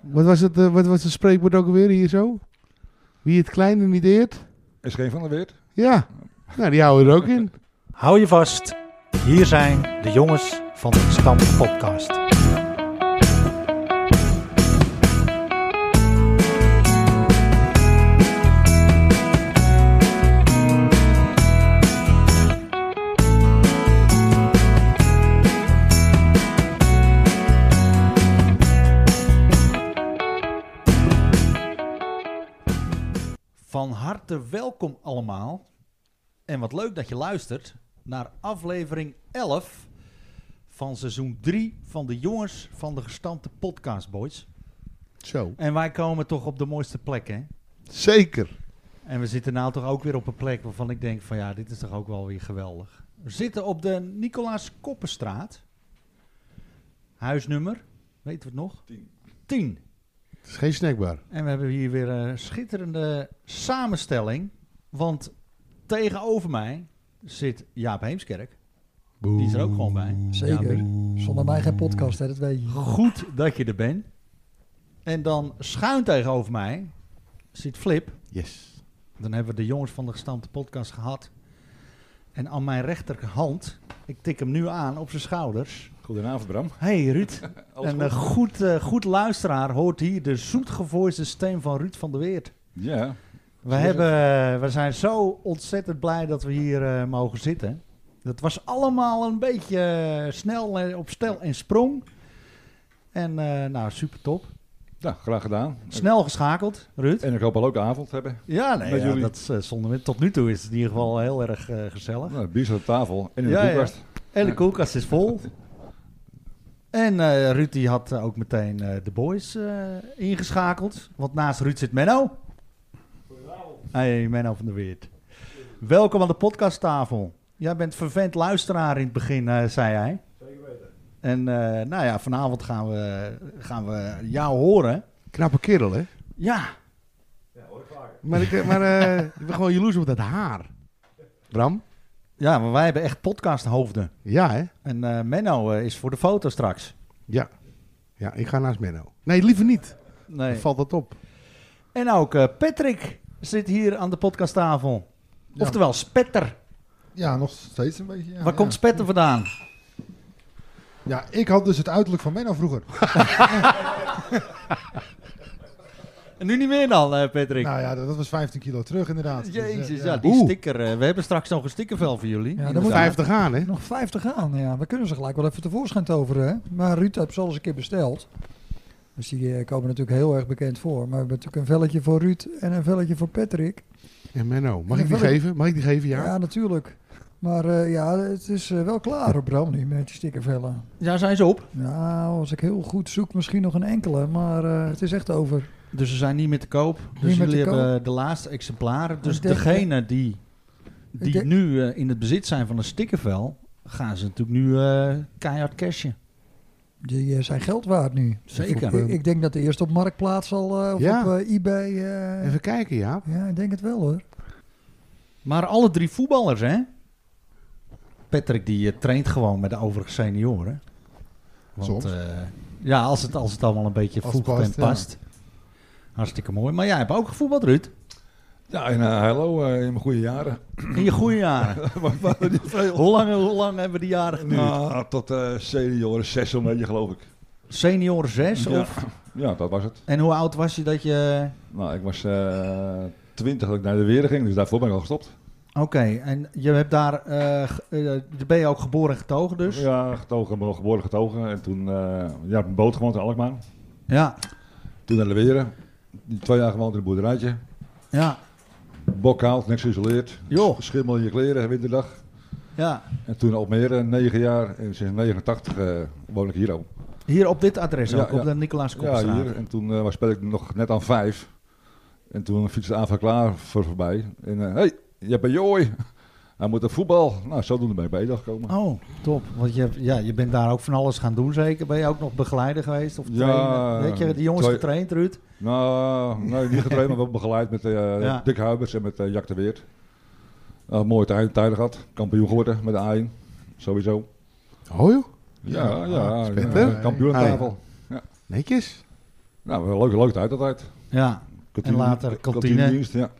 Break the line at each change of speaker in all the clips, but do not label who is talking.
Wat was, het, eh, wat was het spreekwoord ook alweer hier zo? Wie het kleine niet eert?
Is geen van de Weert?
Ja, nou die houden we er ook in.
Hou je vast. Hier zijn de jongens van de Stam Podcast.
Van harte welkom allemaal. En wat leuk dat je luistert naar aflevering 11 van seizoen 3 van de jongens van de gestampte podcast boys.
Zo.
En wij komen toch op de mooiste plek hè.
Zeker.
En we zitten nou toch ook weer op een plek waarvan ik denk van ja, dit is toch ook wel weer geweldig. We zitten op de Nicolaas Koppenstraat. Huisnummer, weten we het nog?
10.
10.
Het is geen snackbar.
En we hebben hier weer een schitterende samenstelling. Want tegenover mij zit Jaap Heemskerk. Die is er ook gewoon bij.
Zeker. Zonder mij geen podcast, hè, dat weet je.
Goed dat je er bent. En dan schuin tegenover mij zit Flip.
Yes.
Dan hebben we de jongens van de gestampte podcast gehad. En aan mijn rechterhand, ik tik hem nu aan op zijn schouders.
Goedenavond, Bram.
Hey Ruud,
Alles goed?
een eh, goed, eh, goed luisteraar hoort hier de zoetgevoiste stem van Ruud van der Weert.
Ja,
We, hebben, we zijn zo ontzettend blij dat we hier eh, mogen zitten. Dat was allemaal een beetje eh, snel eh, op stel en sprong. En eh, nou, super top.
nou, graag gedaan.
Snel geschakeld, Ruud.
En ik hoop al ook de avond hebben.
Ja, nee,
Met
ja,
jullie.
dat is, eh, zonder meer. Tot nu toe is het in ieder geval heel erg eh, gezellig.
Nou, bier staat op tafel en in de
Ja, ja.
koelkast.
En de koelkast is vol. En eh, Ruud die had eh, ook meteen eh, de boys eh, ingeschakeld. Want naast Ruud zit Menno. Hey, Menno van der Weert. Welkom aan de podcasttafel. Jij bent vervent luisteraar in het begin, eh, zei hij. Zeker weten. En eh, nou ja, vanavond gaan we, gaan we jou horen.
Knappe kerel, hè?
Ja,
Maar ik, maar, eh, ik ben gewoon jaloers op dat haar. Bram?
ja maar wij hebben echt podcasthoofden.
Ja, hè?
En eh, Menno eh, is voor de foto straks.
Ja. Ja, ik ga naast Menno. Nee, liever niet. Dan
Nee.
valt dat op.
En ook eh, Patrick zit hier aan de podcasttafel. Oftewel Spetter.
Ja, nog steeds een beetje. Ja,
Waar
ja.
komt Spetter vandaan?
Ja, ik had dus het uiterlijk van Menno vroeger.
En nu niet meer dan, eh, Patrick.
Nou ja, dat dat was 15 kilo terug inderdaad. Dus, eh,
Jezus, ja, die
Oeh.
sticker. eh, we hebben straks nog een stickervel voor jullie.
Ja, dan moet
Inderdaad.
50 aan, hè?
Nog 50 aan, ja. We kunnen ze gelijk wel even tevoorschijn toveren, hè. Maar Ruud heeft ze al eens een keer besteld. Dus die eh, komen natuurlijk heel erg bekend voor. Maar we hebben natuurlijk een velletje voor Ruud en een velletje voor Patrick.
En Menno. Mag
Ja,
ik die
wel.
geven? Mag ik die geven?
Ja,
Ja.
natuurlijk. Maar eh, ja, het is eh, wel klaar op Bram nu met die stickervellen.
Ja, zijn ze op.
Nou, als ik heel goed zoek, misschien nog een enkele. Maar eh, het is echt over.
Dus ze zijn niet meer te koop. Dus
meer te
jullie hebben de laatste exemplaren. Dus
Ik denk-
degene die, die
Ik denk-
nu eh, in het bezit zijn van een stickervel, gaan ze natuurlijk nu eh, keihard cashen.
Die eh, zijn geld waard nu.
Zeker.
Ik, ik denk dat de eerste op Marktplaats al, eh, of
Ja.
op eh, eBay. eh,
Even kijken, ja.
Ja, ik denk het wel hoor.
Maar alle drie voetballers, hè? Patrick die eh, traint gewoon met de overige senioren. Want,
Soms.
eh, ja, als het, als het allemaal een beetje
Als het
voegt en
past, ja.
past. Hartstikke mooi. Maar jij hebt ook gevoetbald, Ruud.
Ja, en eh, hallo, eh, in mijn goede jaren.
In je goede jaren. hoe, lang, hoe lang hebben die jaren geduurd?
Nou, tot eh senioren 6 zo'n beetje, geloof ik.
Senioren 6?
ja.
Of,
ja, dat was het.
en hoe oud was je dat je...
Nou, ik was eh 20 dat ik naar de weer ging, dus daarvoor ben ik al gestopt.
Oké, en je hebt daar... eh, ge- eh, ben je ook geboren en getogen dus?
Ja, getogen, ben nog geboren getogen. En toen, eh ja, op een boot gewoond in Alkmaar.
Ja.
Toen naar de Weren. Twee jaar gewoond in een boerderijtje.
Ja.
Bok koud, niks geïsoleerd.
Joh.
Schimmel in je kleren, winterdag.
ja.
En toen Almere, negen jaar. En sinds 89 eh, woon ik hier ook.
Hier op dit adres
Ja,
ook, op
ja.
de Nicolaas
Ja,
Kopstraat.
hier. En toen eh was speel ik nog net aan vijf. En toen fietste Ava Klaar voor voorbij. En hé, hey, je bent jooi. Hij moet naar voetbal. Nou, zodoende ben ik bij Edag gekomen.
Oh, top. Want je, hebt- ja, je bent daar ook van alles gaan doen, zeker. Ben je ook nog begeleider geweest of
Ja,
trainer? Weet je, de jongens
twee-
getraind, Ruud.
Nou, nee, niet getraind, maar wel begeleid met eh
Ja.
Dick Huibers en met eh, Jack de Weert. Nou, mooie tijden, tijden gehad. Kampioen geworden met de AIN. Sowieso.
Hoi, joh.
Ja, ja.
Ja,
ja,
spannend, hè?
kampioen aan
Ah, ja.
tafel.
Netjes.
Nou, wel leuk, leuk tijd altijd.
Ja.
Kantine-
later
k-
kantine.
kantinedienst, ja.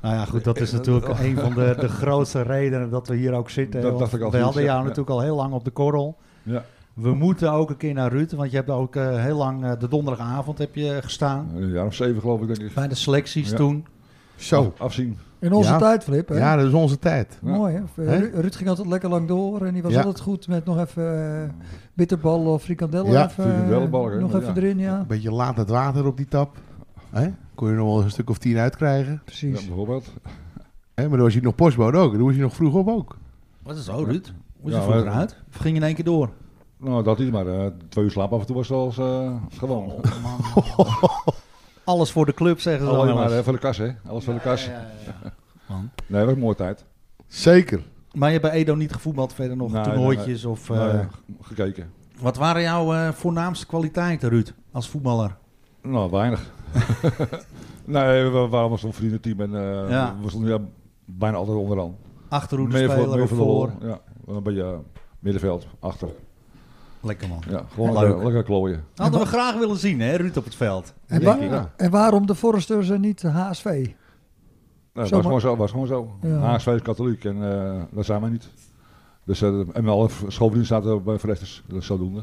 Nou ja, goed, dat is natuurlijk een van de, de grootste redenen dat we hier ook zitten.
Dat
Want
dacht ik al
we
zoiets,
hadden
ja,
jou
ja.
natuurlijk al heel lang op de korrel.
Ja.
We moeten ook een keer naar Ruud, want je hebt ook eh, heel lang eh, de donderdagavond heb je gestaan.
Een jaar of zeven geloof ik, denk ik.
Bij de selecties
Ja.
toen.
Zo.
Af- Afzien.
In onze
Ja.
tijd, Flip. Hè?
Ja, dat is onze tijd.
Ja.
Mooi, hè? eh,
Hè?
Ru- Ruud ging altijd lekker lang door en die was
Ja.
altijd goed met nog even eh, bitterballen of frikandellen.
Ja,
even, eh,
frikandellenballen, hè?
Nog
Ja.
even erin, ja.
Een beetje laat het water op die tap. Hè? Kon je nog wel een stuk of tien uitkrijgen.
Ja,
Precies.
bijvoorbeeld.
Hè? Maar dan was je nog postbode ook. Dan was je nog vroeg op ook.
Wat is zo, Ruud? Hoe is
Ja,
het vroeger
maar-
uit? Of ging je in één keer door?
Nou, dat is maar. eh, twee uur slaap af en toe was het al eens, eh, gewoon.
Oh, man. Alles voor de club, zeggen ze dan
Alleen
wel
maar
eens.
eh, voor de kas, hè. Alles voor de kas.
Ja, ja, ja, ja.
Nee, dat was een mooie tijd.
Zeker.
Maar je hebt bij Edo niet gevoetbald verder nog,
Nee,
toernooitjes of... eh,
Nou ja, g- gekeken.
Wat waren jouw eh, voornaamste kwaliteiten, Ruud, als voetballer?
Nou, weinig. nee, we waren allemaal zo'n vriendenteam en eh,
Ja.
we stonden ja, bijna altijd onderaan.
Achterhoede speler
meer
of voor?
de lol, Ja, een beetje eh, middenveld, achter.
Lekker man.
Ja, gewoon
Leuk.
lekker, lekker klooien.
Hadden we graag willen zien, hè, Ruud op het veld.
En,
Denk
wa-
ik.
Ja.
en waarom de Forresters en niet de HSV?
Nee,
Zomaar-
was gewoon zo. Was gewoon zo.
Ja.
HSV is katholiek en eh dat zijn wij niet. Dus, eh, en alle schoolvrienden zaten bij Verrechters, dat is zodoende.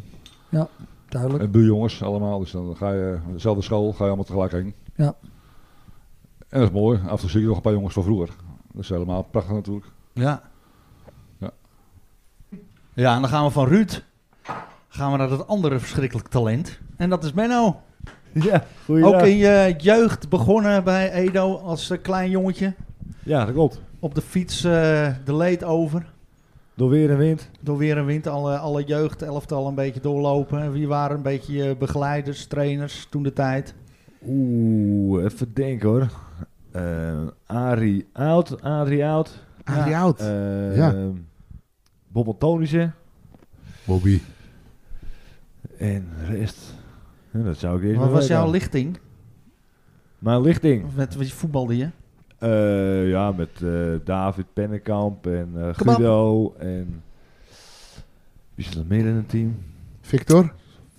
Duidelijk.
En buurjongens allemaal, dus dan ga je eh, dezelfde school, ga je allemaal tegelijk heen.
Ja.
En dat is mooi, af en toe zie je nog een paar jongens van vroeger. Dat is helemaal prachtig natuurlijk.
Ja.
Ja.
Ja, en dan gaan we van Ruud gaan we naar dat andere verschrikkelijk talent. En dat is Menno.
Ja,
Ook
goeiedag.
in je jeugd begonnen bij Edo als eh, klein jongetje.
Ja, dat klopt.
Op de fiets eh, de leed over.
Door weer en wind.
Door weer en wind alle, alle jeugd, elftal een beetje doorlopen. Wie waren een beetje je begeleiders, trainers toen de tijd?
Oeh, even denken hoor. Eh Arie Oud, Adrie Oud.
Adrie
Ja.
Oud.
eh
Ja.
Bob Antonissen.
Bobby.
En de rest. Ja, dat zou ik eerst
Wat
maar
was
weten.
jouw lichting?
Mijn lichting.
Met wat je voetbalde je?
Eh, ja, met eh, David Pennekamp en eh,
Kebab.
Guido. En wie zit er meer in het team?
Victor?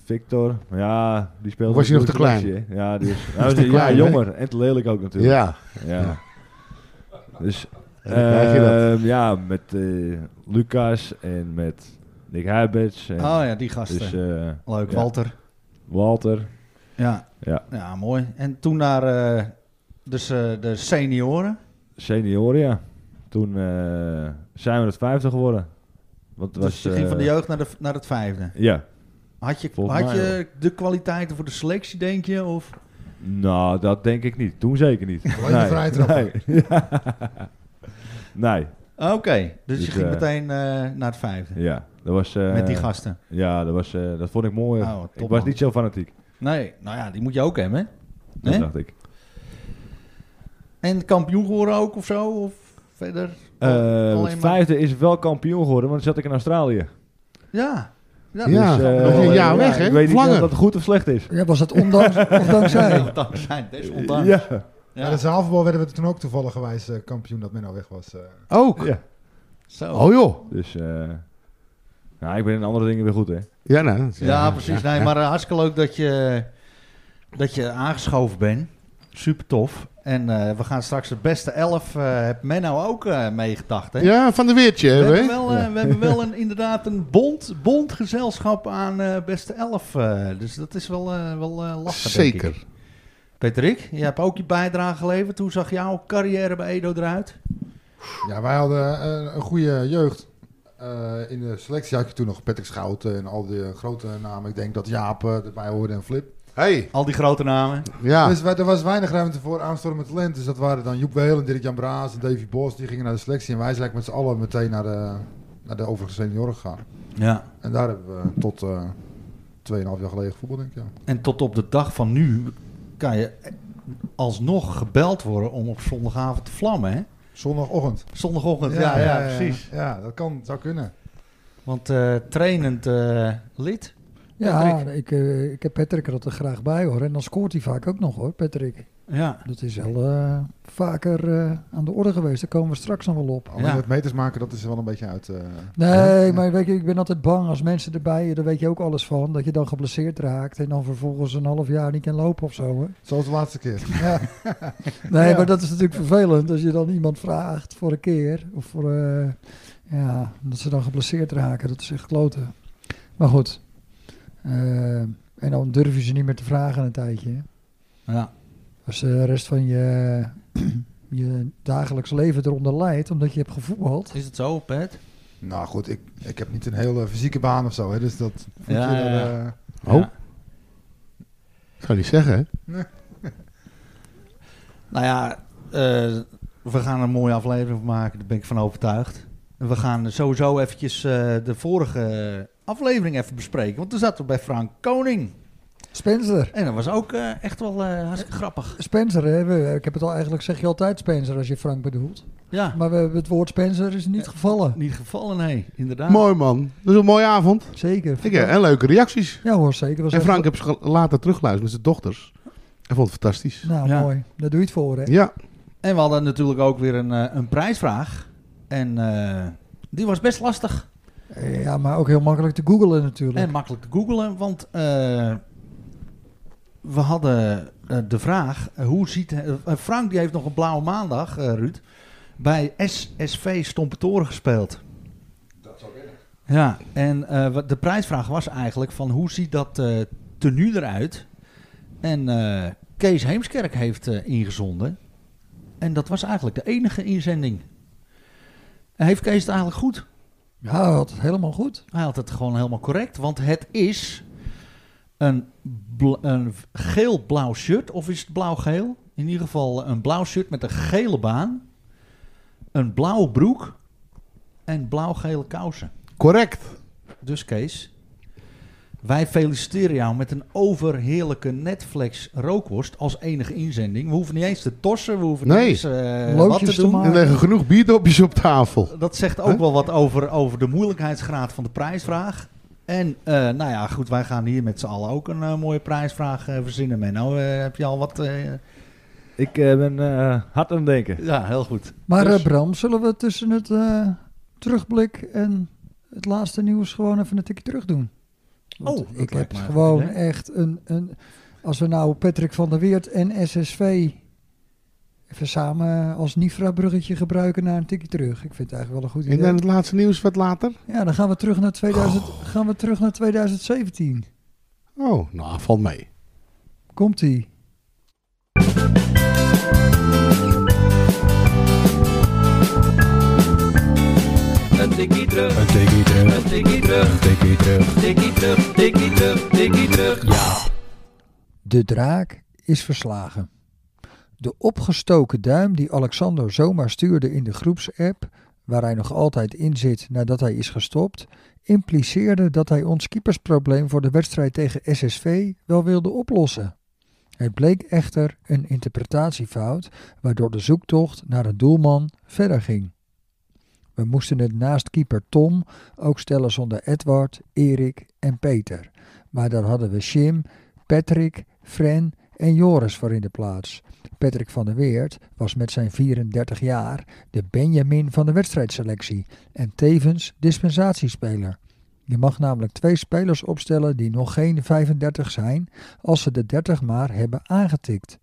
Victor. Ja, die speelde...
Of was je nog te klein?
selectie, hè? Ja, die is, hij
Was
was
te
een jaar
klein, hè?
jonger. En te lelijk ook natuurlijk.
Ja.
Ja. Dus
dan krijg je
Eh,
dat.
ehm, ja, met eh, Lucas en met Nick Huiberts en
Oh ja, die gasten.
dus, eh,
Leuk,
ja.
Walter.
Walter.
Ja.
Ja.
ja, mooi. En toen naar eh, dus, eh, de senioren.
Senioren, ja. Toen eh, zijn we het vijfde geworden. Want het was,
dus je ging
eh,
van de jeugd naar, de, naar het vijfde.
Ja.
Had je,
Volgens
had
mij
je de kwaliteiten voor de selectie, denk je? Of?
Nou, dat denk ik niet. Toen zeker niet.
Alleen de vrije trappen.
Nee. nee.
Oké, dus, je
Dus,
ging
eh,
meteen eh, naar het vijfde.
Ja, dat was... eh,
Met die gasten.
Ja, dat, was, eh, dat vond ik mooi.
Oh, wat top,
ik was
man.
niet zo fanatiek.
Nee, nou ja, die moet je ook hebben, hè?
Dat
Hè?
dacht ik.
En kampioen geworden ook of zo? Of verder?
Eh,
Oh, Alleen
het
maar-
vijfde is wel kampioen geworden, want dan zat ik in Australië.
Ja. Ja,
Ja.
Dus, eh,
nog een jaar
ja,
weg, hè?
Ik weet niet
Langer.
of dat goed of slecht is.
Ja, was dat ondanks, ondanks zij?
Dankzij, desondanks. Ja.
Ja.
Ja. de zaalvoetbal werden we toen ook toevallig gewijs eh, kampioen dat men al weg was. eh.
Ook.
ja.
Zo.
Oh joh.
Dus, eh nou, ik ben in andere dingen weer goed, hè?
Ja, nou. dat is-
Ja, precies. Nee, maar eh, hartstikke leuk dat je, dat je aangeschoven bent. Super tof. En eh, we gaan straks de beste elf. eh heb Menno ook eh, meegedacht, hè?
Ja, van de weertje
We
hebben
hebben,
we.
wel, eh, we hebben wel een, inderdaad een bond, bond gezelschap aan eh, beste elf. eh, dus dat is wel, eh, wel eh, lastig. denk ik.
Zeker.
Patrick, je hebt ook je bijdrage geleverd. Hoe zag jouw carrière bij Edo eruit?
Ja, wij hadden eh, een goede jeugd. Eh, in de selectie had je toen nog Patrick Schouten en al die eh, grote namen. Ik denk dat Jaap eh, erbij hoorde en Flip.
Hey.
Al die grote namen.
Ja.
Ah.
Dus wij- er was weinig ruimte voor aanstormend talent. Dus dat waren dan Joep Weel en Dirk-Jan Braas en Davy Bos. Die gingen naar de selectie. En wij zijn eigenlijk met z'n allen meteen naar de, naar de overige senioren gegaan.
Ja.
En daar hebben we tot eh 2,5 jaar geleden voetbal, denk ik. Ja.
En tot op de dag van nu kan je alsnog gebeld worden om op zondagavond te vlammen, hè?
Zondagochtend.
Zondagochtend, ja, ja, precies.
Ja, dat kan, zou kunnen.
Want eh, trainend eh, lid
Ja,
Patrick.
ik, eh, ik heb Patrick er altijd graag bij hoor. En dan scoort hij vaak ook nog hoor, Patrick.
Ja.
Dat is wel eh, vaker eh, aan de orde geweest. Daar komen we straks nog wel op.
Alleen
Ja.
het meters maken, dat is er wel een beetje uit. eh,
Nee,
ja.
maar weet je, ik ben altijd bang als mensen erbij, daar weet je ook alles van, dat je dan geblesseerd raakt en dan vervolgens een half jaar niet kan lopen of zo. Hè?
Zoals de laatste keer.
Ja. Nee,
Ja.
maar dat is natuurlijk vervelend als je dan iemand vraagt voor een keer. Of voor, eh, ja, dat ze dan geblesseerd raken. Dat is echt kloten. Maar goed. Eh, en dan durf je ze niet meer te vragen een tijdje. hè.
Ja.
Als eh, de rest van je, je dagelijks leven eronder lijdt, omdat je hebt gevoetbald.
Is het zo, Pet?
Nou goed, ik, ik heb niet een hele fysieke baan of zo. Hè, dus dat voelt
Ja,
je
ja,
er,
ja.
eh,
Oh, ik zou niet zeggen, hè?
Nou ja, eh, we gaan er een mooie aflevering van maken. Daar ben ik van overtuigd. En we gaan sowieso eventjes eh, de vorige aflevering even bespreken. Want toen zaten we bij Frank Koning.
Spencer.
En dat was ook eh, echt wel eh, hartstikke grappig.
Spencer, hè? we- ik heb het al eigenlijk, zeg je altijd Spencer als je Frank bedoelt.
Ja,
Maar we, hebben het woord Spencer is niet gevallen.
niet gevallen, nee. Inderdaad.
Mooi man. Dat is een mooie avond.
Zeker.
Ik, eh, en leuke reacties.
Ja hoor, zeker. Was
En
echt-
Frank heb ze ge- later teruggeluisterd met zijn dochters. Hij vond het fantastisch.
Nou,
Ja.
mooi. Daar doe je het voor, hè?
Ja,
En we hadden natuurlijk ook weer een, eh, een prijsvraag. En eh, die was best lastig.
Eh, Ja, maar ook heel makkelijk te googlen natuurlijk.
En makkelijk te googlen, want eh, we hadden eh, de vraag, eh, hoe ziet... eh, Frank die heeft nog een blauwe maandag, eh, Ruud, bij SSV Stompetoren gespeeld.
Dat zou kunnen.
Ja, en eh, wat de prijsvraag was eigenlijk van hoe ziet dat eh tenue eruit? En eh, Kees Heemskerk heeft eh, ingezonden. En dat was eigenlijk de enige inzending. En Heeft Kees het eigenlijk goed?
Ja, dat had het helemaal goed.
Hij had het gewoon helemaal correct, want het is een, bla- een geel-blauw shirt, of is het blauw-geel? In ieder geval een blauw shirt met een gele baan, een blauwe broek en blauw-gele kousen.
correct.
Dus Kees, wij feliciteren jou met een overheerlijke Netflix rookworst als enige inzending. We hoeven niet eens te torsen, we hoeven
Nee.
niet eens eh, wat
Loodjes
te
te
doen.
maken.
Er liggen genoeg bierdopjes op tafel.
Dat zegt ook
Huh?
wel wat over, over de moeilijkheidsgraad van de prijsvraag. En eh, nou ja, goed, wij gaan hier met z'n allen ook een eh, mooie prijsvraag eh, verzinnen. Menno, eh, heb je al wat? eh,
Ik eh, ben eh, hard aan het denken.
ja, heel goed.
Maar
Dus-
eh, Bram, zullen we tussen het eh, terugblik en het laatste nieuws gewoon even een tikje terug doen? Want
Oh, dat
ik
lijkt
heb
me een
gewoon
goed idee.
echt een, een... Als we nou Patrick van der Weert en SSV even samen als Nifra-bruggetje gebruiken naar een tikje terug. Ik vind het eigenlijk wel een goed
En
idee.
dan het laatste nieuws wat later.
Ja, dan gaan we terug naar, 2000, gaan we terug naar 2017.
Oh, nou, valt mee.
Komt-ie.
Een tikkie terug. Een tikkie terug. Een tikkie terug.
De draak is verslagen. De opgestoken duim die Alexander zomaar stuurde in de groepsapp, waar hij nog altijd in zit nadat hij is gestopt, impliceerde dat hij ons keepersprobleem voor de wedstrijd tegen SSV wel wilde oplossen. Het bleek echter een interpretatiefout, waardoor de zoektocht naar een doelman verder ging. We moesten het naast keeper Tom ook stellen zonder Edward, Erik en Peter. Maar daar hadden we Jim Patrick, Fren en Joris voor in de plaats. Patrick van der Weert was met zijn 34 jaar de Benjamin van de wedstrijdselectie en tevens dispensatiespeler. Je mag namelijk twee spelers opstellen die nog geen 35 zijn, als ze de 30 maar hebben aangetikt.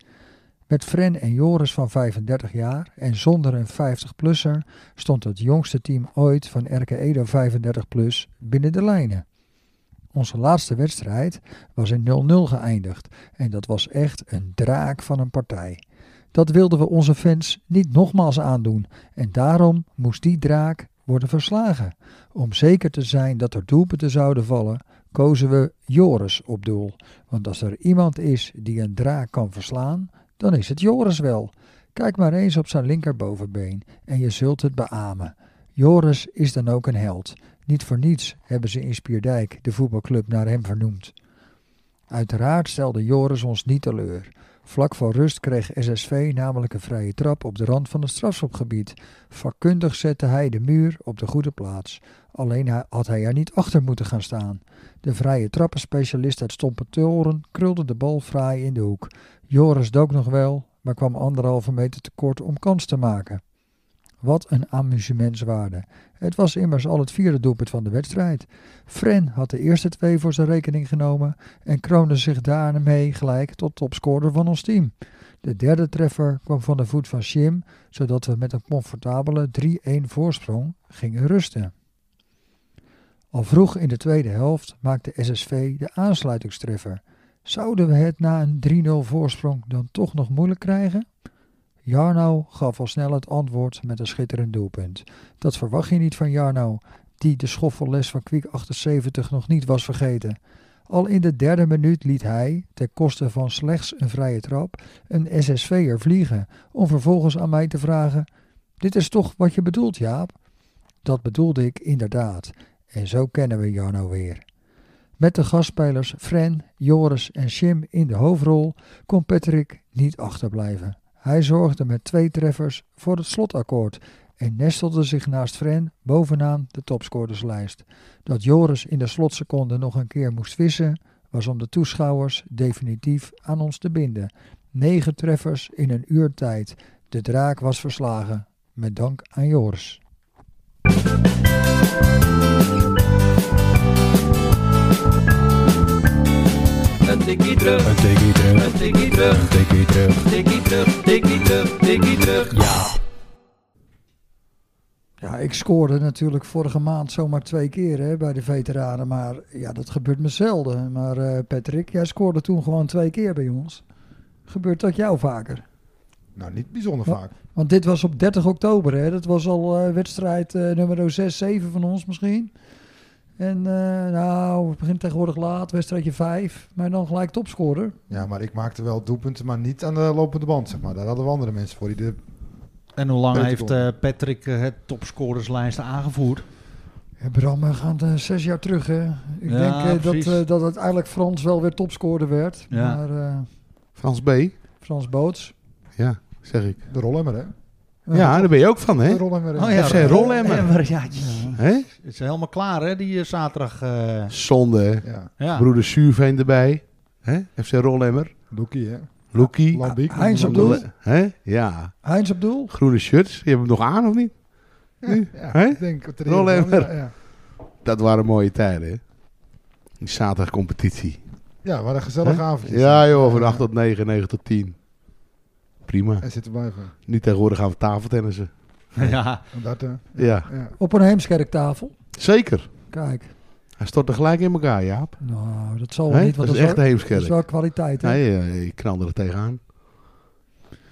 Met Fren en Joris van 35 jaar en zonder een 50-plusser stond het jongste team ooit van RK Edo 35-plus binnen de lijnen. Onze laatste wedstrijd was in 0-0 geëindigd en dat was echt een draak van een partij. Dat wilden we onze fans niet nogmaals aandoen en daarom moest die draak worden verslagen. Om zeker te zijn dat er doelpunten zouden vallen, kozen we Joris op doel. Want als er iemand is die een draak kan verslaan, dan is het Joris wel. Kijk maar eens op zijn linkerbovenbeen en je zult het beamen. Joris is dan ook een held. Niet voor niets hebben ze in Spierdijk de voetbalclub naar hem vernoemd. Uiteraard stelde Joris ons niet teleur. Vlak voor rust kreeg SSV namelijk een vrije trap op de rand van het strafschopgebied. Vakkundig zette hij de muur op de goede plaats. Alleen hij- had hij er niet achter moeten gaan staan. De vrije trappenspecialist uit Stompetoren krulde de bal fraai in de hoek. Joris dook nog wel, maar kwam anderhalve meter tekort om kans te maken. Wat een amusementswaarde. Het was immers al het vierde doelpunt van de wedstrijd. Fren had de eerste twee voor zijn rekening genomen en kroonde zich daarmee gelijk tot topscorer van ons team. De derde treffer kwam van de voet van Jim, zodat we met een comfortabele 3-1 voorsprong gingen rusten. Al vroeg in de tweede helft maakte SSV de aansluitingstreffer. Zouden we het na een 3-0 voorsprong dan toch nog moeilijk krijgen? Jarno gaf al snel het antwoord met een schitterend doelpunt. Dat verwacht je niet van Jarno, die de schoffelles van Kwiek 78 nog niet was vergeten. Al in de derde minuut liet hij, ten koste van slechts een vrije trap, een SSV'er vliegen, om vervolgens aan mij te vragen: Dit is toch wat je bedoelt, Jaap? Dat bedoelde ik inderdaad, en zo kennen we Jarno weer. Met de gastspelers Fren, Joris en Jim in de hoofdrol kon Patrick niet achterblijven. Hij zorgde met twee treffers voor het slotakkoord en nestelde zich naast Fren bovenaan de topscorerslijst. Dat Joris in de slotseconde nog een keer moest vissen, was om de toeschouwers definitief aan ons te binden. Negen treffers in een uur tijd. De draak was verslagen. Met dank aan Joris.
Een tikkie terug,
Een tikkie terug,
een tikkie terug,
een tikkie terug.
tikkie terug, tikkie terug, tikkie terug.
Ja, ik scoorde natuurlijk vorige maand zomaar twee keer hè, bij de veteranen. Maar ja, dat gebeurt me zelden. Maar eh, Patrick, jij scoorde toen gewoon twee keer bij ons. Gebeurt dat jou vaker?
Nou, niet bijzonder
Wat?
vaak.
Want dit was op 30 oktober, hè? Dat was al eh, wedstrijd eh, nummer 6, 7 van ons misschien. En eh, nou, het begint tegenwoordig laat, wedstrijdje 5. Maar dan gelijk topscorer.
Ja, maar ik maakte wel doelpunten, maar niet aan de lopende band, zeg maar. Daar hadden we andere mensen voor die de
En hoe lang
Peter
heeft eh, Patrick eh, het topscorerslijst aangevoerd?
Ja, Bram, we gaan eh, zes jaar terug, hè? Ik
Ja,
denk eh, dat,
precies.
eh, dat uiteindelijk Frans wel weer topscorer werd.
Ja.
Maar eh,
Frans B.
Frans Boots.
Ja, zeg ik.
De rollemmer, hè?
Ja, daar ben je ook van, hè?
De rollemmer. hè?
FC Rollemmer.
Emmer, Oh Ja, ja.
Hè?
Is helemaal klaar, hè, die eh, zaterdag. eh,
Zonde, hè?
Ja,
ja.
Broeder Suurveen erbij. Hè? FC Rollemmer.
Doekie, hè?
Loekie.
Lambiek.
Heinz op doel.
Lambiek.
Hè? Ja.
Heinz op doel.
Groene shirts. Je hebt hem nog aan, of niet? Nu?
Ja,
Hè?
ik denk het er
Rollemmer.
Ja, ja.
Dat waren mooie tijden, hè? Die zaterdagcompetitie.
ja, wat een gezellig
Hè?
avondje.
Ja, joh. Van 8 tot 9, 9 tot 10. Prima.
En zitten blijven.
Nu tegenwoordig gaan we tafeltennissen.
ja.
Dat, hè?
Ja,
Ja.
Op een Heemskerktafel.
zeker.
Kijk,
Hij stort er gelijk in elkaar, Jaap.
nou, dat zal wel
Hè?
niet.
Dat
Want
is
wel-
echt de
dat is
heemskerk.
wel kwaliteit, hè?
Nee, eh, ik knalde er tegenaan.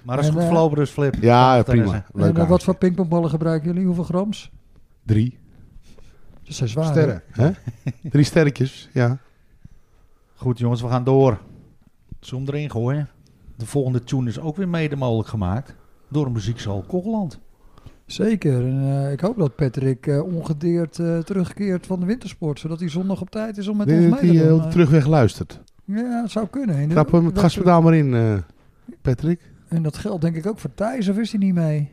Maar dat is
En,
goed
eh,
verlopen dus, Flip.
Ja,
Tafeltennis,
prima.
En
Leuk.
eh, wat
avondje.
voor pingpongballen gebruiken jullie? Hoeveel grams?
Drie.
Dat zijn zwaar. hè?
Sterren.
Drie sterretjes, ja.
Goed jongens, we gaan door. Zoom erin gooien. De volgende tune is ook weer mede mogelijk gemaakt door de muziekzaal Kogeland.
Zeker. En, eh, ik hoop dat Patrick eh, ongedeerd eh, terugkeert van de wintersport. Zodat hij zondag op tijd is om met
Ik denk
ons
dat
mee
hij
te
eh,
doen. eh.
op de terugweg luistert.
Ja, het zou kunnen. En,
Trap hem het
dat-
gaspedaal maar in, eh, Patrick.
en dat geldt denk ik ook voor Thijs, of is hij niet mee?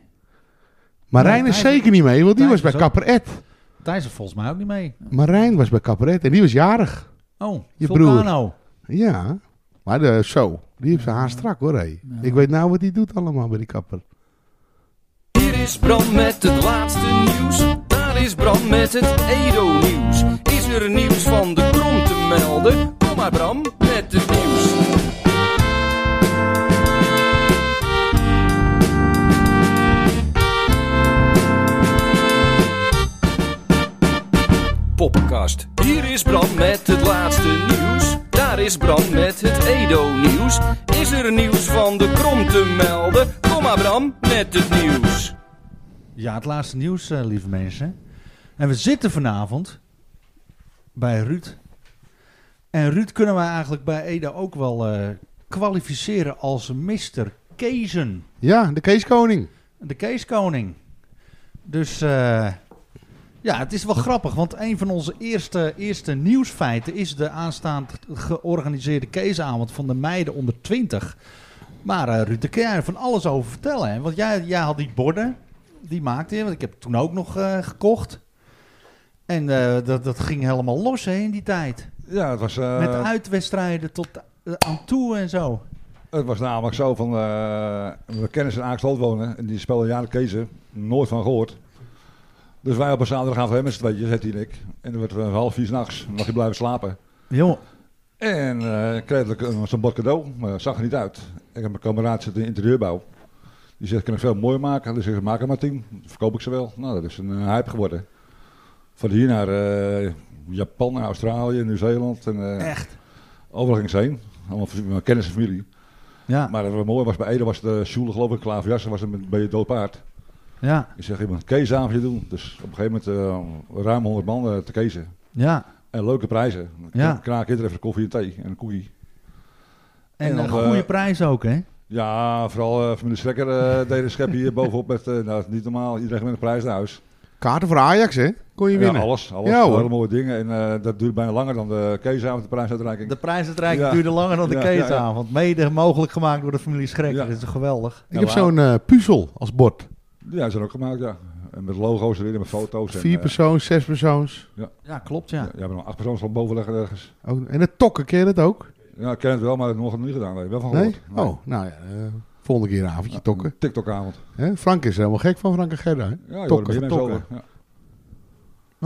Maar
Nee,
Rijn is
Thijs-
zeker niet mee, want die
Thijs
was bij
is ook-
Kapper Ed.
Thijs is volgens mij ook niet mee.
Maar Rijn was bij Kapper Ed en die was jarig.
Oh,
Je
Vulcano.
Ja, maar de, zo. Die heeft zijn haar strak hoor, hé.
Ja.
Ik weet nou wat hij doet allemaal bij die kapper.
Hier is Bram met het laatste nieuws. Daar is Bram met het Edo-nieuws. Is er nieuws van de krom te melden? Kom maar Bram met het nieuws. Poppenkast. Hier is Bram met het laatste nieuws. Daar is Bram met het Edo-nieuws. Is er nieuws van de krom te melden? Kom maar Bram met het nieuws.
Ja, het laatste nieuws, eh, lieve mensen. En we zitten vanavond bij Ruud. En Ruud kunnen we eigenlijk bij Ede ook wel eh, kwalificeren als Mr. Kezen.
Ja, de Keeskoning.
De Keeskoning. Dus eh, ja, het is wel grappig. Want een van onze eerste, eerste nieuwsfeiten is de aanstaand georganiseerde Keesavond van de meiden onder 20. Maar eh Ruud, daar kun jij er van alles over vertellen. Hè? Want jij, jij had die borden, die maakte je. Want ik heb toen ook nog eh, gekocht. En eh, dat, dat ging helemaal los hè, in die tijd.
Ja, het was, eh,
Met uitwedstrijden tot eh, aan toe en zo.
het was namelijk zo van... eh, we kennen ze in Aangstloot wonen. En die spelen jaren Kezen. Nooit van gehoord. Dus wij op een zaterdagavond hebben met z'n tweeën, zet hij en ik. En dan werd het eh, half vier s'nachts. Mag je blijven slapen.
Joh,
En eh, ik kreeg ik zo'n bord cadeau, maar dat zag er niet uit. Ik heb mijn kameraad zitten in interieurbouw. Die zegt, ik kan het veel mooier maken. Dus ik zeg, maak er maar tien. Dan verkoop ik ze wel. Nou, dat is een eh, hype geworden. Van hier naar eh, Japan, Australië, Nieuw-Zeeland. En, eh,
echt.
overal ging ze heen. Allemaal voor- mijn kennis en familie.
Ja,
Maar wat mooi was, bij Ede was de Sjoele geloof ik, Klaverjassen was een beetje dood paard.
ja,
Ik zeg, je moet een keesavondje doen. Dus op een gegeven moment eh, ruim 100 man eh, te kezen.
ja.
En leuke prijzen.
Ja.
Ja. Kraak iedereen even koffie en thee en een koekie.
En,
En
een
nog, eh,
goede prijs ook, hè?
Ja, vooral eh familie Schrekker eh deed een schep hier bovenop met, eh, nou, het is niet normaal, iedereen ging met een prijs naar huis.
Kaarten voor Ajax, hè? Kon je
Ja,
winnen.
alles, alles,
Ja, hoor.
hele mooie dingen en eh, dat duurt bijna langer dan de keesavond, de prijsuitreiking.
De prijsuitreiking
Ja.
duurde langer dan de
Ja, ja, ja.
keesavond. Mede mogelijk gemaakt door de familie Schrekker.
Ja.
Dat is toch geweldig.
Ik heb zo'n eh, puzzel als bord.
Ja, die zijn ook gemaakt, ja. En met logo's erin en met foto's. en,
Vier
eh,
persoons, zes persoons.
Ja, klopt, ja.
ja, we hebben nog acht personen boven liggen ergens.
Ook, en het tokken, ken je dat ook?
Ja, ik ken het wel, maar dat heb ik nog niet gedaan. Daar heb ik wel van
Nee?
gehoord.
Oh, nou ja. eh, volgende keer een avondje tokken.
TikTok-avond.
Hè? Frank is er helemaal gek van, Frank en Gerda. hè?
Ja,
Tokken,
tokken, je mensen
tokken.
over. Ja.